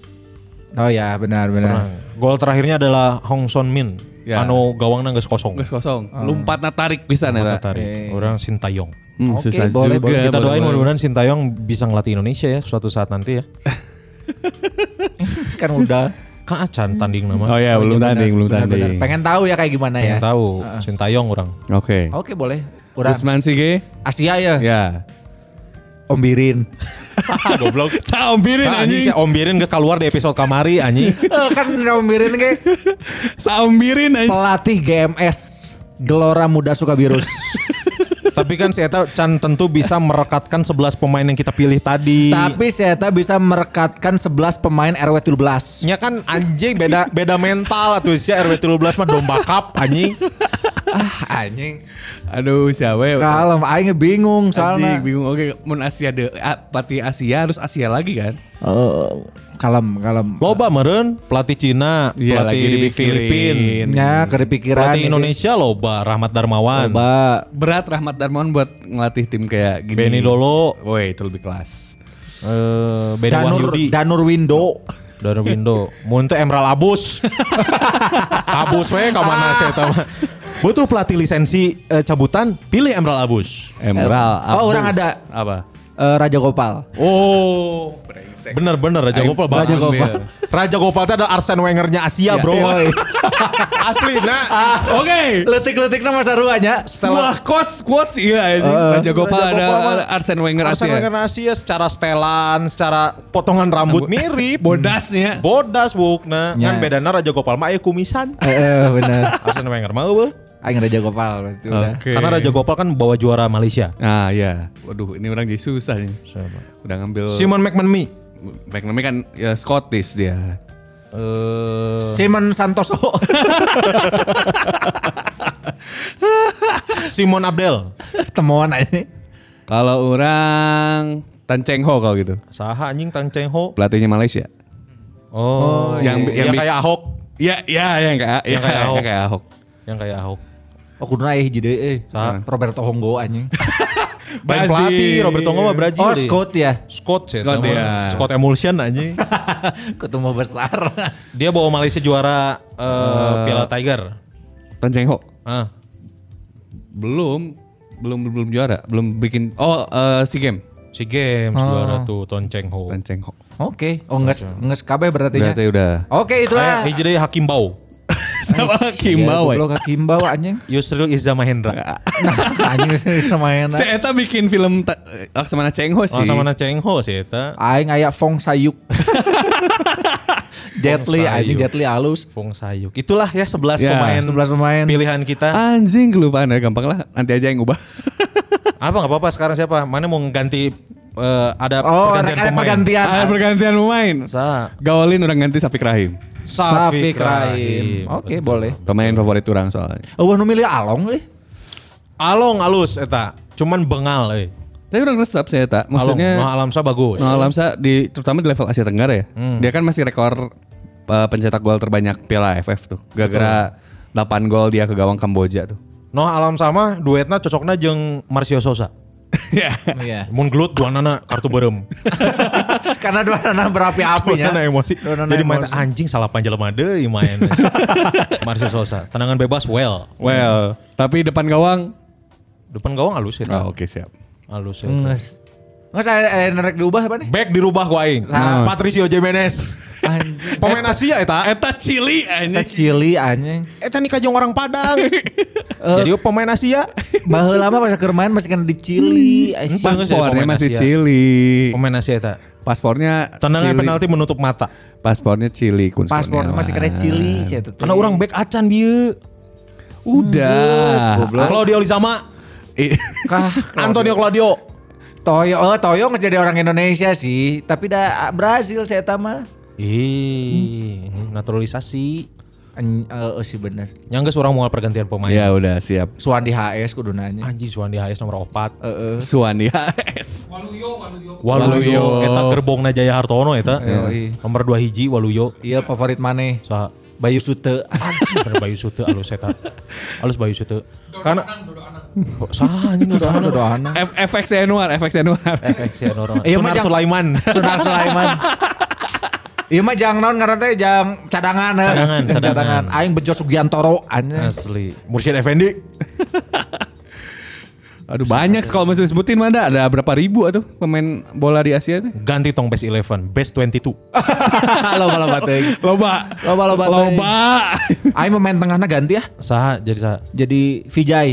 Speaker 4: Oh ya benar benar.
Speaker 5: Pernah. Nah, Gol terakhirnya adalah Hong Son Min.
Speaker 6: Ya.
Speaker 5: Anu gawangna geus kosong.
Speaker 6: Geus kosong. Lompat natarik pisan
Speaker 5: Mata
Speaker 6: eta.
Speaker 5: Ah. tarik. Orang Sintayong.
Speaker 6: Hmm,
Speaker 4: Oke, boleh, boleh.
Speaker 5: Kita doain
Speaker 6: boleh.
Speaker 5: mudah-mudahan Sintayong bisa ngelatih Indonesia ya suatu saat nanti ya.
Speaker 4: Kan udah.
Speaker 5: Kan acan tanding nama.
Speaker 6: Oh <laughs> ya, belum
Speaker 4: Benar,
Speaker 6: tanding, belum
Speaker 4: benar,
Speaker 6: tanding.
Speaker 4: benar. Pengen tahu ya kayak gimana ya.
Speaker 5: Pengen tahu Sintayong orang.
Speaker 6: Oke.
Speaker 5: Oh,
Speaker 4: Oke boleh. Urang
Speaker 6: Usman Sige?
Speaker 4: Asia ya.
Speaker 6: Ya.
Speaker 4: Om Birin.
Speaker 5: Saha <laughs> goblok.
Speaker 6: Saombirin
Speaker 5: Nah, anjing si
Speaker 6: anjing.
Speaker 5: ombirin geus keluar di episode kamari anjing.
Speaker 4: Eh, kan mirin ge
Speaker 6: <laughs> Saombirin anjing.
Speaker 4: pelatih GMS Gelora Muda
Speaker 6: <laughs>
Speaker 4: Sukabirus.
Speaker 5: Tapi kan si Eta Chan tentu bisa merekatkan 11 pemain yang kita pilih tadi.
Speaker 4: Tapi Seta bisa merekatkan 11 pemain RW 17.
Speaker 5: Ya kan anjing beda beda mental atuh si RW 13 mah domba cup anjing.
Speaker 4: Ah, anjing.
Speaker 6: Aduh, siapa ya?
Speaker 4: Kalem aing bingung
Speaker 6: Anjing,
Speaker 4: soalnya.
Speaker 6: bingung. Oke, mun Asia de A- Pati Asia harus Asia lagi kan?
Speaker 4: Eh, kalem, kalem.
Speaker 5: Loba meren pelatih Cina,
Speaker 6: Iya, lagi
Speaker 5: pelatih
Speaker 6: dipikirin.
Speaker 5: Filipin,
Speaker 4: Ya, kepikiran.
Speaker 5: pelatih Indonesia loba Rahmat Darmawan,
Speaker 4: Coba
Speaker 6: Berat Rahmat Darmawan buat ngelatih tim kayak gini.
Speaker 5: Benny Dolo,
Speaker 6: Woi, itu lebih kelas.
Speaker 5: eh Benny
Speaker 4: Danur
Speaker 5: Wahyudi,
Speaker 4: Danur Window.
Speaker 5: Danur Windo, mun teh Emerald Abus. Abus we ka mana sih eta mah. Butuh pelatih lisensi eh, cabutan, pilih Emerald Abus.
Speaker 6: Emerald.
Speaker 4: Oh, orang ada.
Speaker 6: Apa?
Speaker 4: Eh, Raja Gopal.
Speaker 5: Oh, bener-bener Raja
Speaker 6: Aing-
Speaker 5: Gopal
Speaker 6: Raja
Speaker 5: bagus.
Speaker 6: Gopal.
Speaker 5: <laughs> Raja Gopal itu ada Arsene Wengernya Asia bro. <laughs> Asli nah.
Speaker 6: Oke.
Speaker 4: Letik-letik nama saruanya.
Speaker 6: Semua quotes quotes iya anjing. Raja Gopal
Speaker 5: Eh, Raja
Speaker 6: ada
Speaker 5: Gopal mah-
Speaker 6: Arsene Wenger
Speaker 5: Arsene
Speaker 6: Asia.
Speaker 5: Wenger Asia secara stelan, secara potongan rambut mirip.
Speaker 6: Bodasnya.
Speaker 5: Bodas bukna.
Speaker 4: Ya.
Speaker 5: Kan bedana Raja Gopal mah aya kumisan.
Speaker 4: Heeh, Eh, bener.
Speaker 5: Arsene Wenger mah eueuh.
Speaker 4: Aing Raja Gopal itu udah.
Speaker 6: Oke.
Speaker 5: Karena Raja Gopal kan bawa juara Malaysia.
Speaker 6: Ah ya, waduh ini orang jadi susah nih. Udah ngambil.
Speaker 5: Simon McManamy.
Speaker 6: McNamee kan ya, Scottish dia.
Speaker 5: Eh,
Speaker 4: Simon Santoso. <laughs>
Speaker 5: Simon Abdel.
Speaker 4: Temuan aja.
Speaker 6: Kalau orang Tan Cheng Ho kalau gitu.
Speaker 5: Saha anjing Tang Cheng Ho.
Speaker 6: Pelatihnya Malaysia.
Speaker 5: Oh, yang
Speaker 6: iya.
Speaker 5: yang,
Speaker 6: Yang
Speaker 5: kayak Ahok,
Speaker 6: Iya, iya yang kayak
Speaker 5: Yang
Speaker 6: yang
Speaker 5: kayak Ahok.
Speaker 6: kayak Yang kayak Ahok.
Speaker 5: yang kayak Ahok.
Speaker 4: Oh kuduna eh hiji deui eh.
Speaker 5: Saha?
Speaker 4: Roberto Honggo anjing.
Speaker 5: Baik
Speaker 6: Brazil.
Speaker 5: pelatih Roberto Ngoma Brazil.
Speaker 4: Oh
Speaker 5: deh.
Speaker 4: Scott ya.
Speaker 5: Scott sih.
Speaker 6: Scott,
Speaker 5: nama.
Speaker 6: ya.
Speaker 5: Scott Emulsion anjing.
Speaker 4: Ketemu besar.
Speaker 5: Dia bawa Malaysia juara eh, Piala Tiger.
Speaker 6: Tan Cheng Ho.
Speaker 5: Ah.
Speaker 6: Belum belum belum juara, belum bikin oh eh, SEA Game.
Speaker 5: Si Games juara tuh Ton Cheng Ho.
Speaker 6: Tan Cheng Ho.
Speaker 4: <laughs> Oke, oh enggak enggak kabeh berarti
Speaker 5: Iya.
Speaker 4: nya.
Speaker 6: Berarti udah
Speaker 4: Oke,
Speaker 5: Aya
Speaker 4: itulah.
Speaker 5: Eh, hiji deui ya Hakim Bau.
Speaker 6: sama
Speaker 4: Kimbawa.
Speaker 6: Kimbawa.
Speaker 4: Goblok ka Kimbawa anjing. <laughs>
Speaker 5: Yusril Iza
Speaker 4: Nah,
Speaker 5: Mahendra.
Speaker 4: anjing <laughs> sama enak.
Speaker 6: Si Eta bikin film ta- eh, Laksamana Cheng Ho sih.
Speaker 5: Oh, sama na Cheng Ho sih eta.
Speaker 4: Aing aya Fong Sayuk. Jet Li
Speaker 5: Fong Sayuk.
Speaker 4: anjing Jet Li halus.
Speaker 5: Fong Sayuk. Itulah ya 11
Speaker 6: Ya,
Speaker 5: pemain
Speaker 4: 11 pemain. Ah.
Speaker 5: pilihan kita.
Speaker 6: Anjing kelupaan ya gampang lah nanti aja yang ubah.
Speaker 5: Apa nggak apa-apa sekarang siapa? Mana mau ganti eh, ada
Speaker 4: Oh,
Speaker 5: pergantian
Speaker 4: ada
Speaker 5: pemain.
Speaker 4: pergantian.
Speaker 6: Ada pergantian pemain.
Speaker 5: Sa
Speaker 6: Gaulin orang ganti Safik Rahim.
Speaker 5: Safi
Speaker 4: Safiq Rahim. Ah, Oke, boleh.
Speaker 6: Pemain favorit orang soalnya.
Speaker 4: Eueuh nu milih Along li.
Speaker 5: Along alus eta. Cuman bengal euy.
Speaker 6: Tapi orang resep saya
Speaker 5: Along
Speaker 6: tak.
Speaker 5: Noah
Speaker 6: Maksudnya
Speaker 5: Alamsa bagus.
Speaker 6: Noah Lamsa di terutama di level Asia Tenggara ya. Dia kan masih rekor uh, pencetak gol terbanyak Piala AFF tuh. Gara-gara 8 gol dia ke gawang Kamboja tuh.
Speaker 5: Noah Alamsa mah duetna cocokna jeung Marcio Sosa.
Speaker 4: Iya.
Speaker 5: Mun gelut duanana kartu beureum.
Speaker 4: <laughs> Karena dua anak berapi apinya.
Speaker 5: Nana emosi.
Speaker 4: Nana
Speaker 5: Jadi
Speaker 4: Iya.
Speaker 5: main
Speaker 4: emosi.
Speaker 5: anjing salah panjelema deui main. Marcio Sosa. Tendangan bebas well.
Speaker 6: Well, tapi depan gawang.
Speaker 5: Depan gawang alus eta.
Speaker 6: Oh, oke siap.
Speaker 5: Alus eta.
Speaker 4: Nges. Nges saya nerek diubah apa nih?
Speaker 5: Back dirubah ku aing. Nah, Patricio Jimenez.
Speaker 4: Anjing.
Speaker 5: Pemain Asia eta.
Speaker 6: Eta Chili anjing.
Speaker 4: Eta cili anjing.
Speaker 5: Eta nih kajeng orang Padang. Jadi oh, pemain Asia.
Speaker 4: Bahwa lama pas keur main masih kena di cili. anjing.
Speaker 5: Pas- ya,
Speaker 6: Paspornya
Speaker 5: Pemain
Speaker 6: masih
Speaker 5: Asia.
Speaker 6: Chili.
Speaker 5: Pemain Asia eta.
Speaker 6: Paspornya
Speaker 5: Tendangan
Speaker 6: Chili.
Speaker 5: penalti menutup mata.
Speaker 6: Paspornya Chili kun
Speaker 4: Paspor
Speaker 6: Kurniawan.
Speaker 4: masih kena cili. sih eta teh.
Speaker 5: Karena orang back acan dia.
Speaker 4: Geus,
Speaker 6: Udah. <laughs>
Speaker 4: goblok.
Speaker 5: Claudio Lizama.
Speaker 4: Kah,
Speaker 5: Antonio Claudio.
Speaker 4: Toyo, oh Toyo nggak jadi orang Indonesia sih, tapi dah ah, Brazil saya tama.
Speaker 5: Ih, naturalisasi.
Speaker 4: An- eh, eh, sih bener.
Speaker 5: Nyangga orang mau pergantian pemain.
Speaker 6: Ya udah siap.
Speaker 4: Suandi HS kudu nanya.
Speaker 5: Anjing Suwandi HS nomor 4.
Speaker 4: Eh, eh.
Speaker 6: Suwandi HS.
Speaker 7: Waluyo, Waluyo.
Speaker 5: Waluyo,
Speaker 6: Waluyo.
Speaker 5: eta gerbongna Jaya Hartono eta.
Speaker 4: Yoi.
Speaker 5: Nomor 2 hiji Waluyo.
Speaker 4: Iya favorit mana?
Speaker 5: Saha?
Speaker 4: Bayu Sute.
Speaker 5: Anjing bener Bayu Sute alus eta. Alus Bayu Sute.
Speaker 7: Dodo
Speaker 5: Karena
Speaker 7: Anang, Dodo Anang.
Speaker 5: saha anjing Eh, udah
Speaker 4: Doana doana.
Speaker 6: F FX Anwar, FX Anwar.
Speaker 5: efek sih orang.
Speaker 4: Iya,
Speaker 5: Sunar
Speaker 4: mah, Jang.
Speaker 5: Sulaiman.
Speaker 4: Sunar Sulaiman. Iya mah jangan naon karena teh jang cadangan. eh.
Speaker 5: Cadangan,
Speaker 4: Jang
Speaker 5: cadangan.
Speaker 4: Aing bejo Sugiantoro anjing. <laughs>
Speaker 5: <laughs> Asli. Mursyid Effendi.
Speaker 6: Aduh banyak kalau mesti disebutin mah ada, ada berapa ribu atau pemain bola di Asia tuh?
Speaker 5: Ganti tong best 11, best 22.
Speaker 4: Loba loba teuing.
Speaker 6: Loba.
Speaker 4: Loba loba teuing.
Speaker 6: Loba.
Speaker 4: Aing pemain tengahna ganti ya.
Speaker 5: Saha jadi saha?
Speaker 4: Jadi Vijay.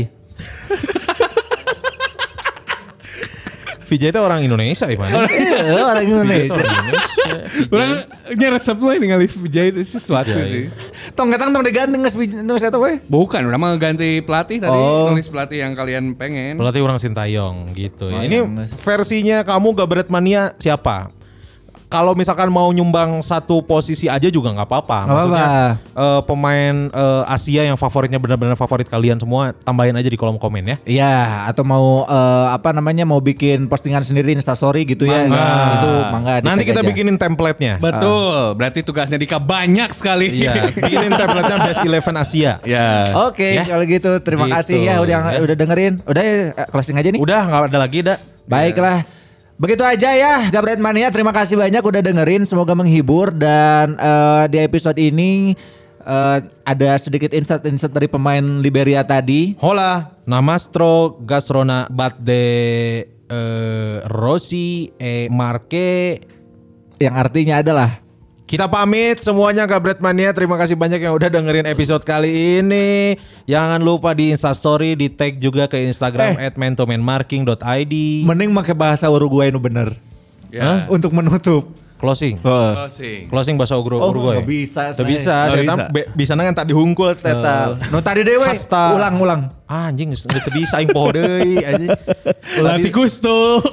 Speaker 5: Vijay itu orang Indonesia Ivan.
Speaker 4: Iya, orang Indonesia.
Speaker 5: Orang
Speaker 7: Orang ini resep lo yang ngalih jahit itu sesuatu
Speaker 5: Jahit.
Speaker 7: sih.
Speaker 4: Tong datang tong diganti nges nges eta we.
Speaker 6: Bukan, udah mau ganti pelatih tadi,
Speaker 4: Oh.
Speaker 6: nulis pelatih yang kalian pengen.
Speaker 5: pelatih orang Sintayong gitu.
Speaker 4: Oh,
Speaker 5: ya. Ini
Speaker 4: yang nges-
Speaker 5: versinya kamu Gabret Mania siapa? Kalau misalkan mau nyumbang satu posisi aja juga nggak apa-apa.
Speaker 4: Nggak
Speaker 5: Maksudnya
Speaker 4: apa-apa.
Speaker 5: eh, pemain eh, Asia yang favoritnya benar-benar favorit kalian semua tambahin aja di kolom komen ya.
Speaker 4: Iya, atau mau eh, apa namanya mau bikin postingan sendiri Instastory gitu ya.
Speaker 5: Mangga.
Speaker 4: Itu mangga. di
Speaker 5: Nah, Nanti
Speaker 4: tag
Speaker 5: kita
Speaker 4: aja.
Speaker 5: bikinin template-nya.
Speaker 6: Betul, berarti tugasnya Dika banyak sekali.
Speaker 5: Iya, bikinin template-nya Best Eleven Asia.
Speaker 6: Ya.
Speaker 4: Oke,
Speaker 5: Ya.
Speaker 4: kalau gitu terima
Speaker 5: Gitu,
Speaker 4: kasih ya udah
Speaker 5: ya.
Speaker 4: udah dengerin. Udah ya, eh, closing aja nih.
Speaker 5: Udah nggak ada lagi dah.
Speaker 4: Baiklah. Begitu aja ya Gabret Mania. Terima kasih banyak udah dengerin. Semoga menghibur dan eh, di episode ini eh, ada sedikit insight-insight dari pemain Liberia tadi.
Speaker 5: Hola, namastro, gastrona, bat de eh, Rossi, eh, Marke.
Speaker 4: Yang artinya adalah
Speaker 5: Kita pamit semuanya Gabret Mania. Terima kasih banyak yang udah dengerin episode kali ini. Jangan lupa di Instastory, di tag juga ke Instagram
Speaker 4: Eh.
Speaker 5: at @mentomanmarking.id.
Speaker 4: mending pakai bahasa Uruguay nu bener
Speaker 5: Ya.
Speaker 4: untuk menutup.
Speaker 5: Closing.
Speaker 6: Closing.
Speaker 5: Closing bahasa Ugro
Speaker 4: Oh,
Speaker 5: Uruguay.
Speaker 4: nggak bisa,
Speaker 5: Nggak
Speaker 4: saya. Oh.
Speaker 5: bisa.
Speaker 6: Nggak
Speaker 5: Saya
Speaker 6: bisa.
Speaker 5: bisa nangan tak dihungkul tetap.
Speaker 4: Nu tadi dewe
Speaker 5: Hasta.
Speaker 4: ulang-ulang.
Speaker 5: Anjing, nggak bisa aing poho deui anjing. Tadi-
Speaker 6: gusto.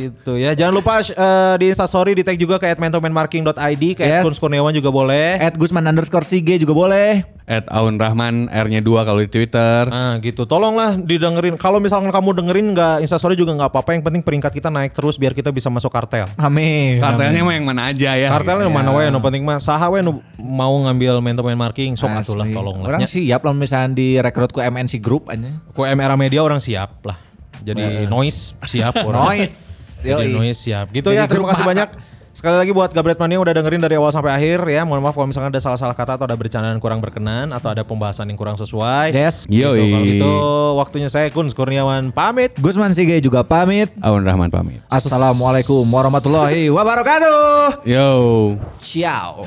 Speaker 5: gitu ya. Jangan lupa eh, di Instastory di tag juga ke @mentomanmarking.id, ke
Speaker 4: Yes.
Speaker 5: Kurns Kurniawan juga boleh.
Speaker 4: Eh. At Gusman underscore Sige juga boleh.
Speaker 6: <laughs> At Aun Rahman, R-nya 2 kalau di Twitter.
Speaker 5: Nah gitu, tolonglah didengerin. Kalau misalkan kamu dengerin nggak Instastory juga nggak apa-apa. Yang penting peringkat kita naik terus biar kita bisa masuk kartel.
Speaker 4: Amin.
Speaker 5: Kan,
Speaker 6: Kartelnya mah yang mana aja ya.
Speaker 5: Kartelnya mana wae, yang penting mah saha wae nu mau ngambil mentoman marking, sok
Speaker 4: Asli.
Speaker 5: atuh lah tolong Ya. lah.
Speaker 4: Orang siap lah misalnya direkrut ke MNC Group aja.
Speaker 5: Ku MRA Media orang siap lah. Jadi noise
Speaker 4: <laughs>
Speaker 5: siap orang.
Speaker 4: Nah. Noise.
Speaker 5: Jadi
Speaker 4: Yoi.
Speaker 5: noise siap. Gitu
Speaker 4: Jadi
Speaker 5: ya, terima
Speaker 4: grup
Speaker 5: kasih
Speaker 4: mata.
Speaker 5: banyak. Sekali lagi buat Gabret Mania udah dengerin dari awal sampai akhir ya. Mohon maaf kalau misalkan ada salah-salah kata atau ada bercandaan kurang berkenan atau ada pembahasan yang kurang sesuai.
Speaker 4: Yes.
Speaker 5: Gitu,
Speaker 6: Yoi.
Speaker 5: kalau gitu waktunya saya Kun Kurniawan pamit.
Speaker 4: Gusman Sige juga pamit.
Speaker 6: Aun Rahman pamit.
Speaker 4: Assalamualaikum warahmatullahi wabarakatuh.
Speaker 6: Yo.
Speaker 4: Ciao.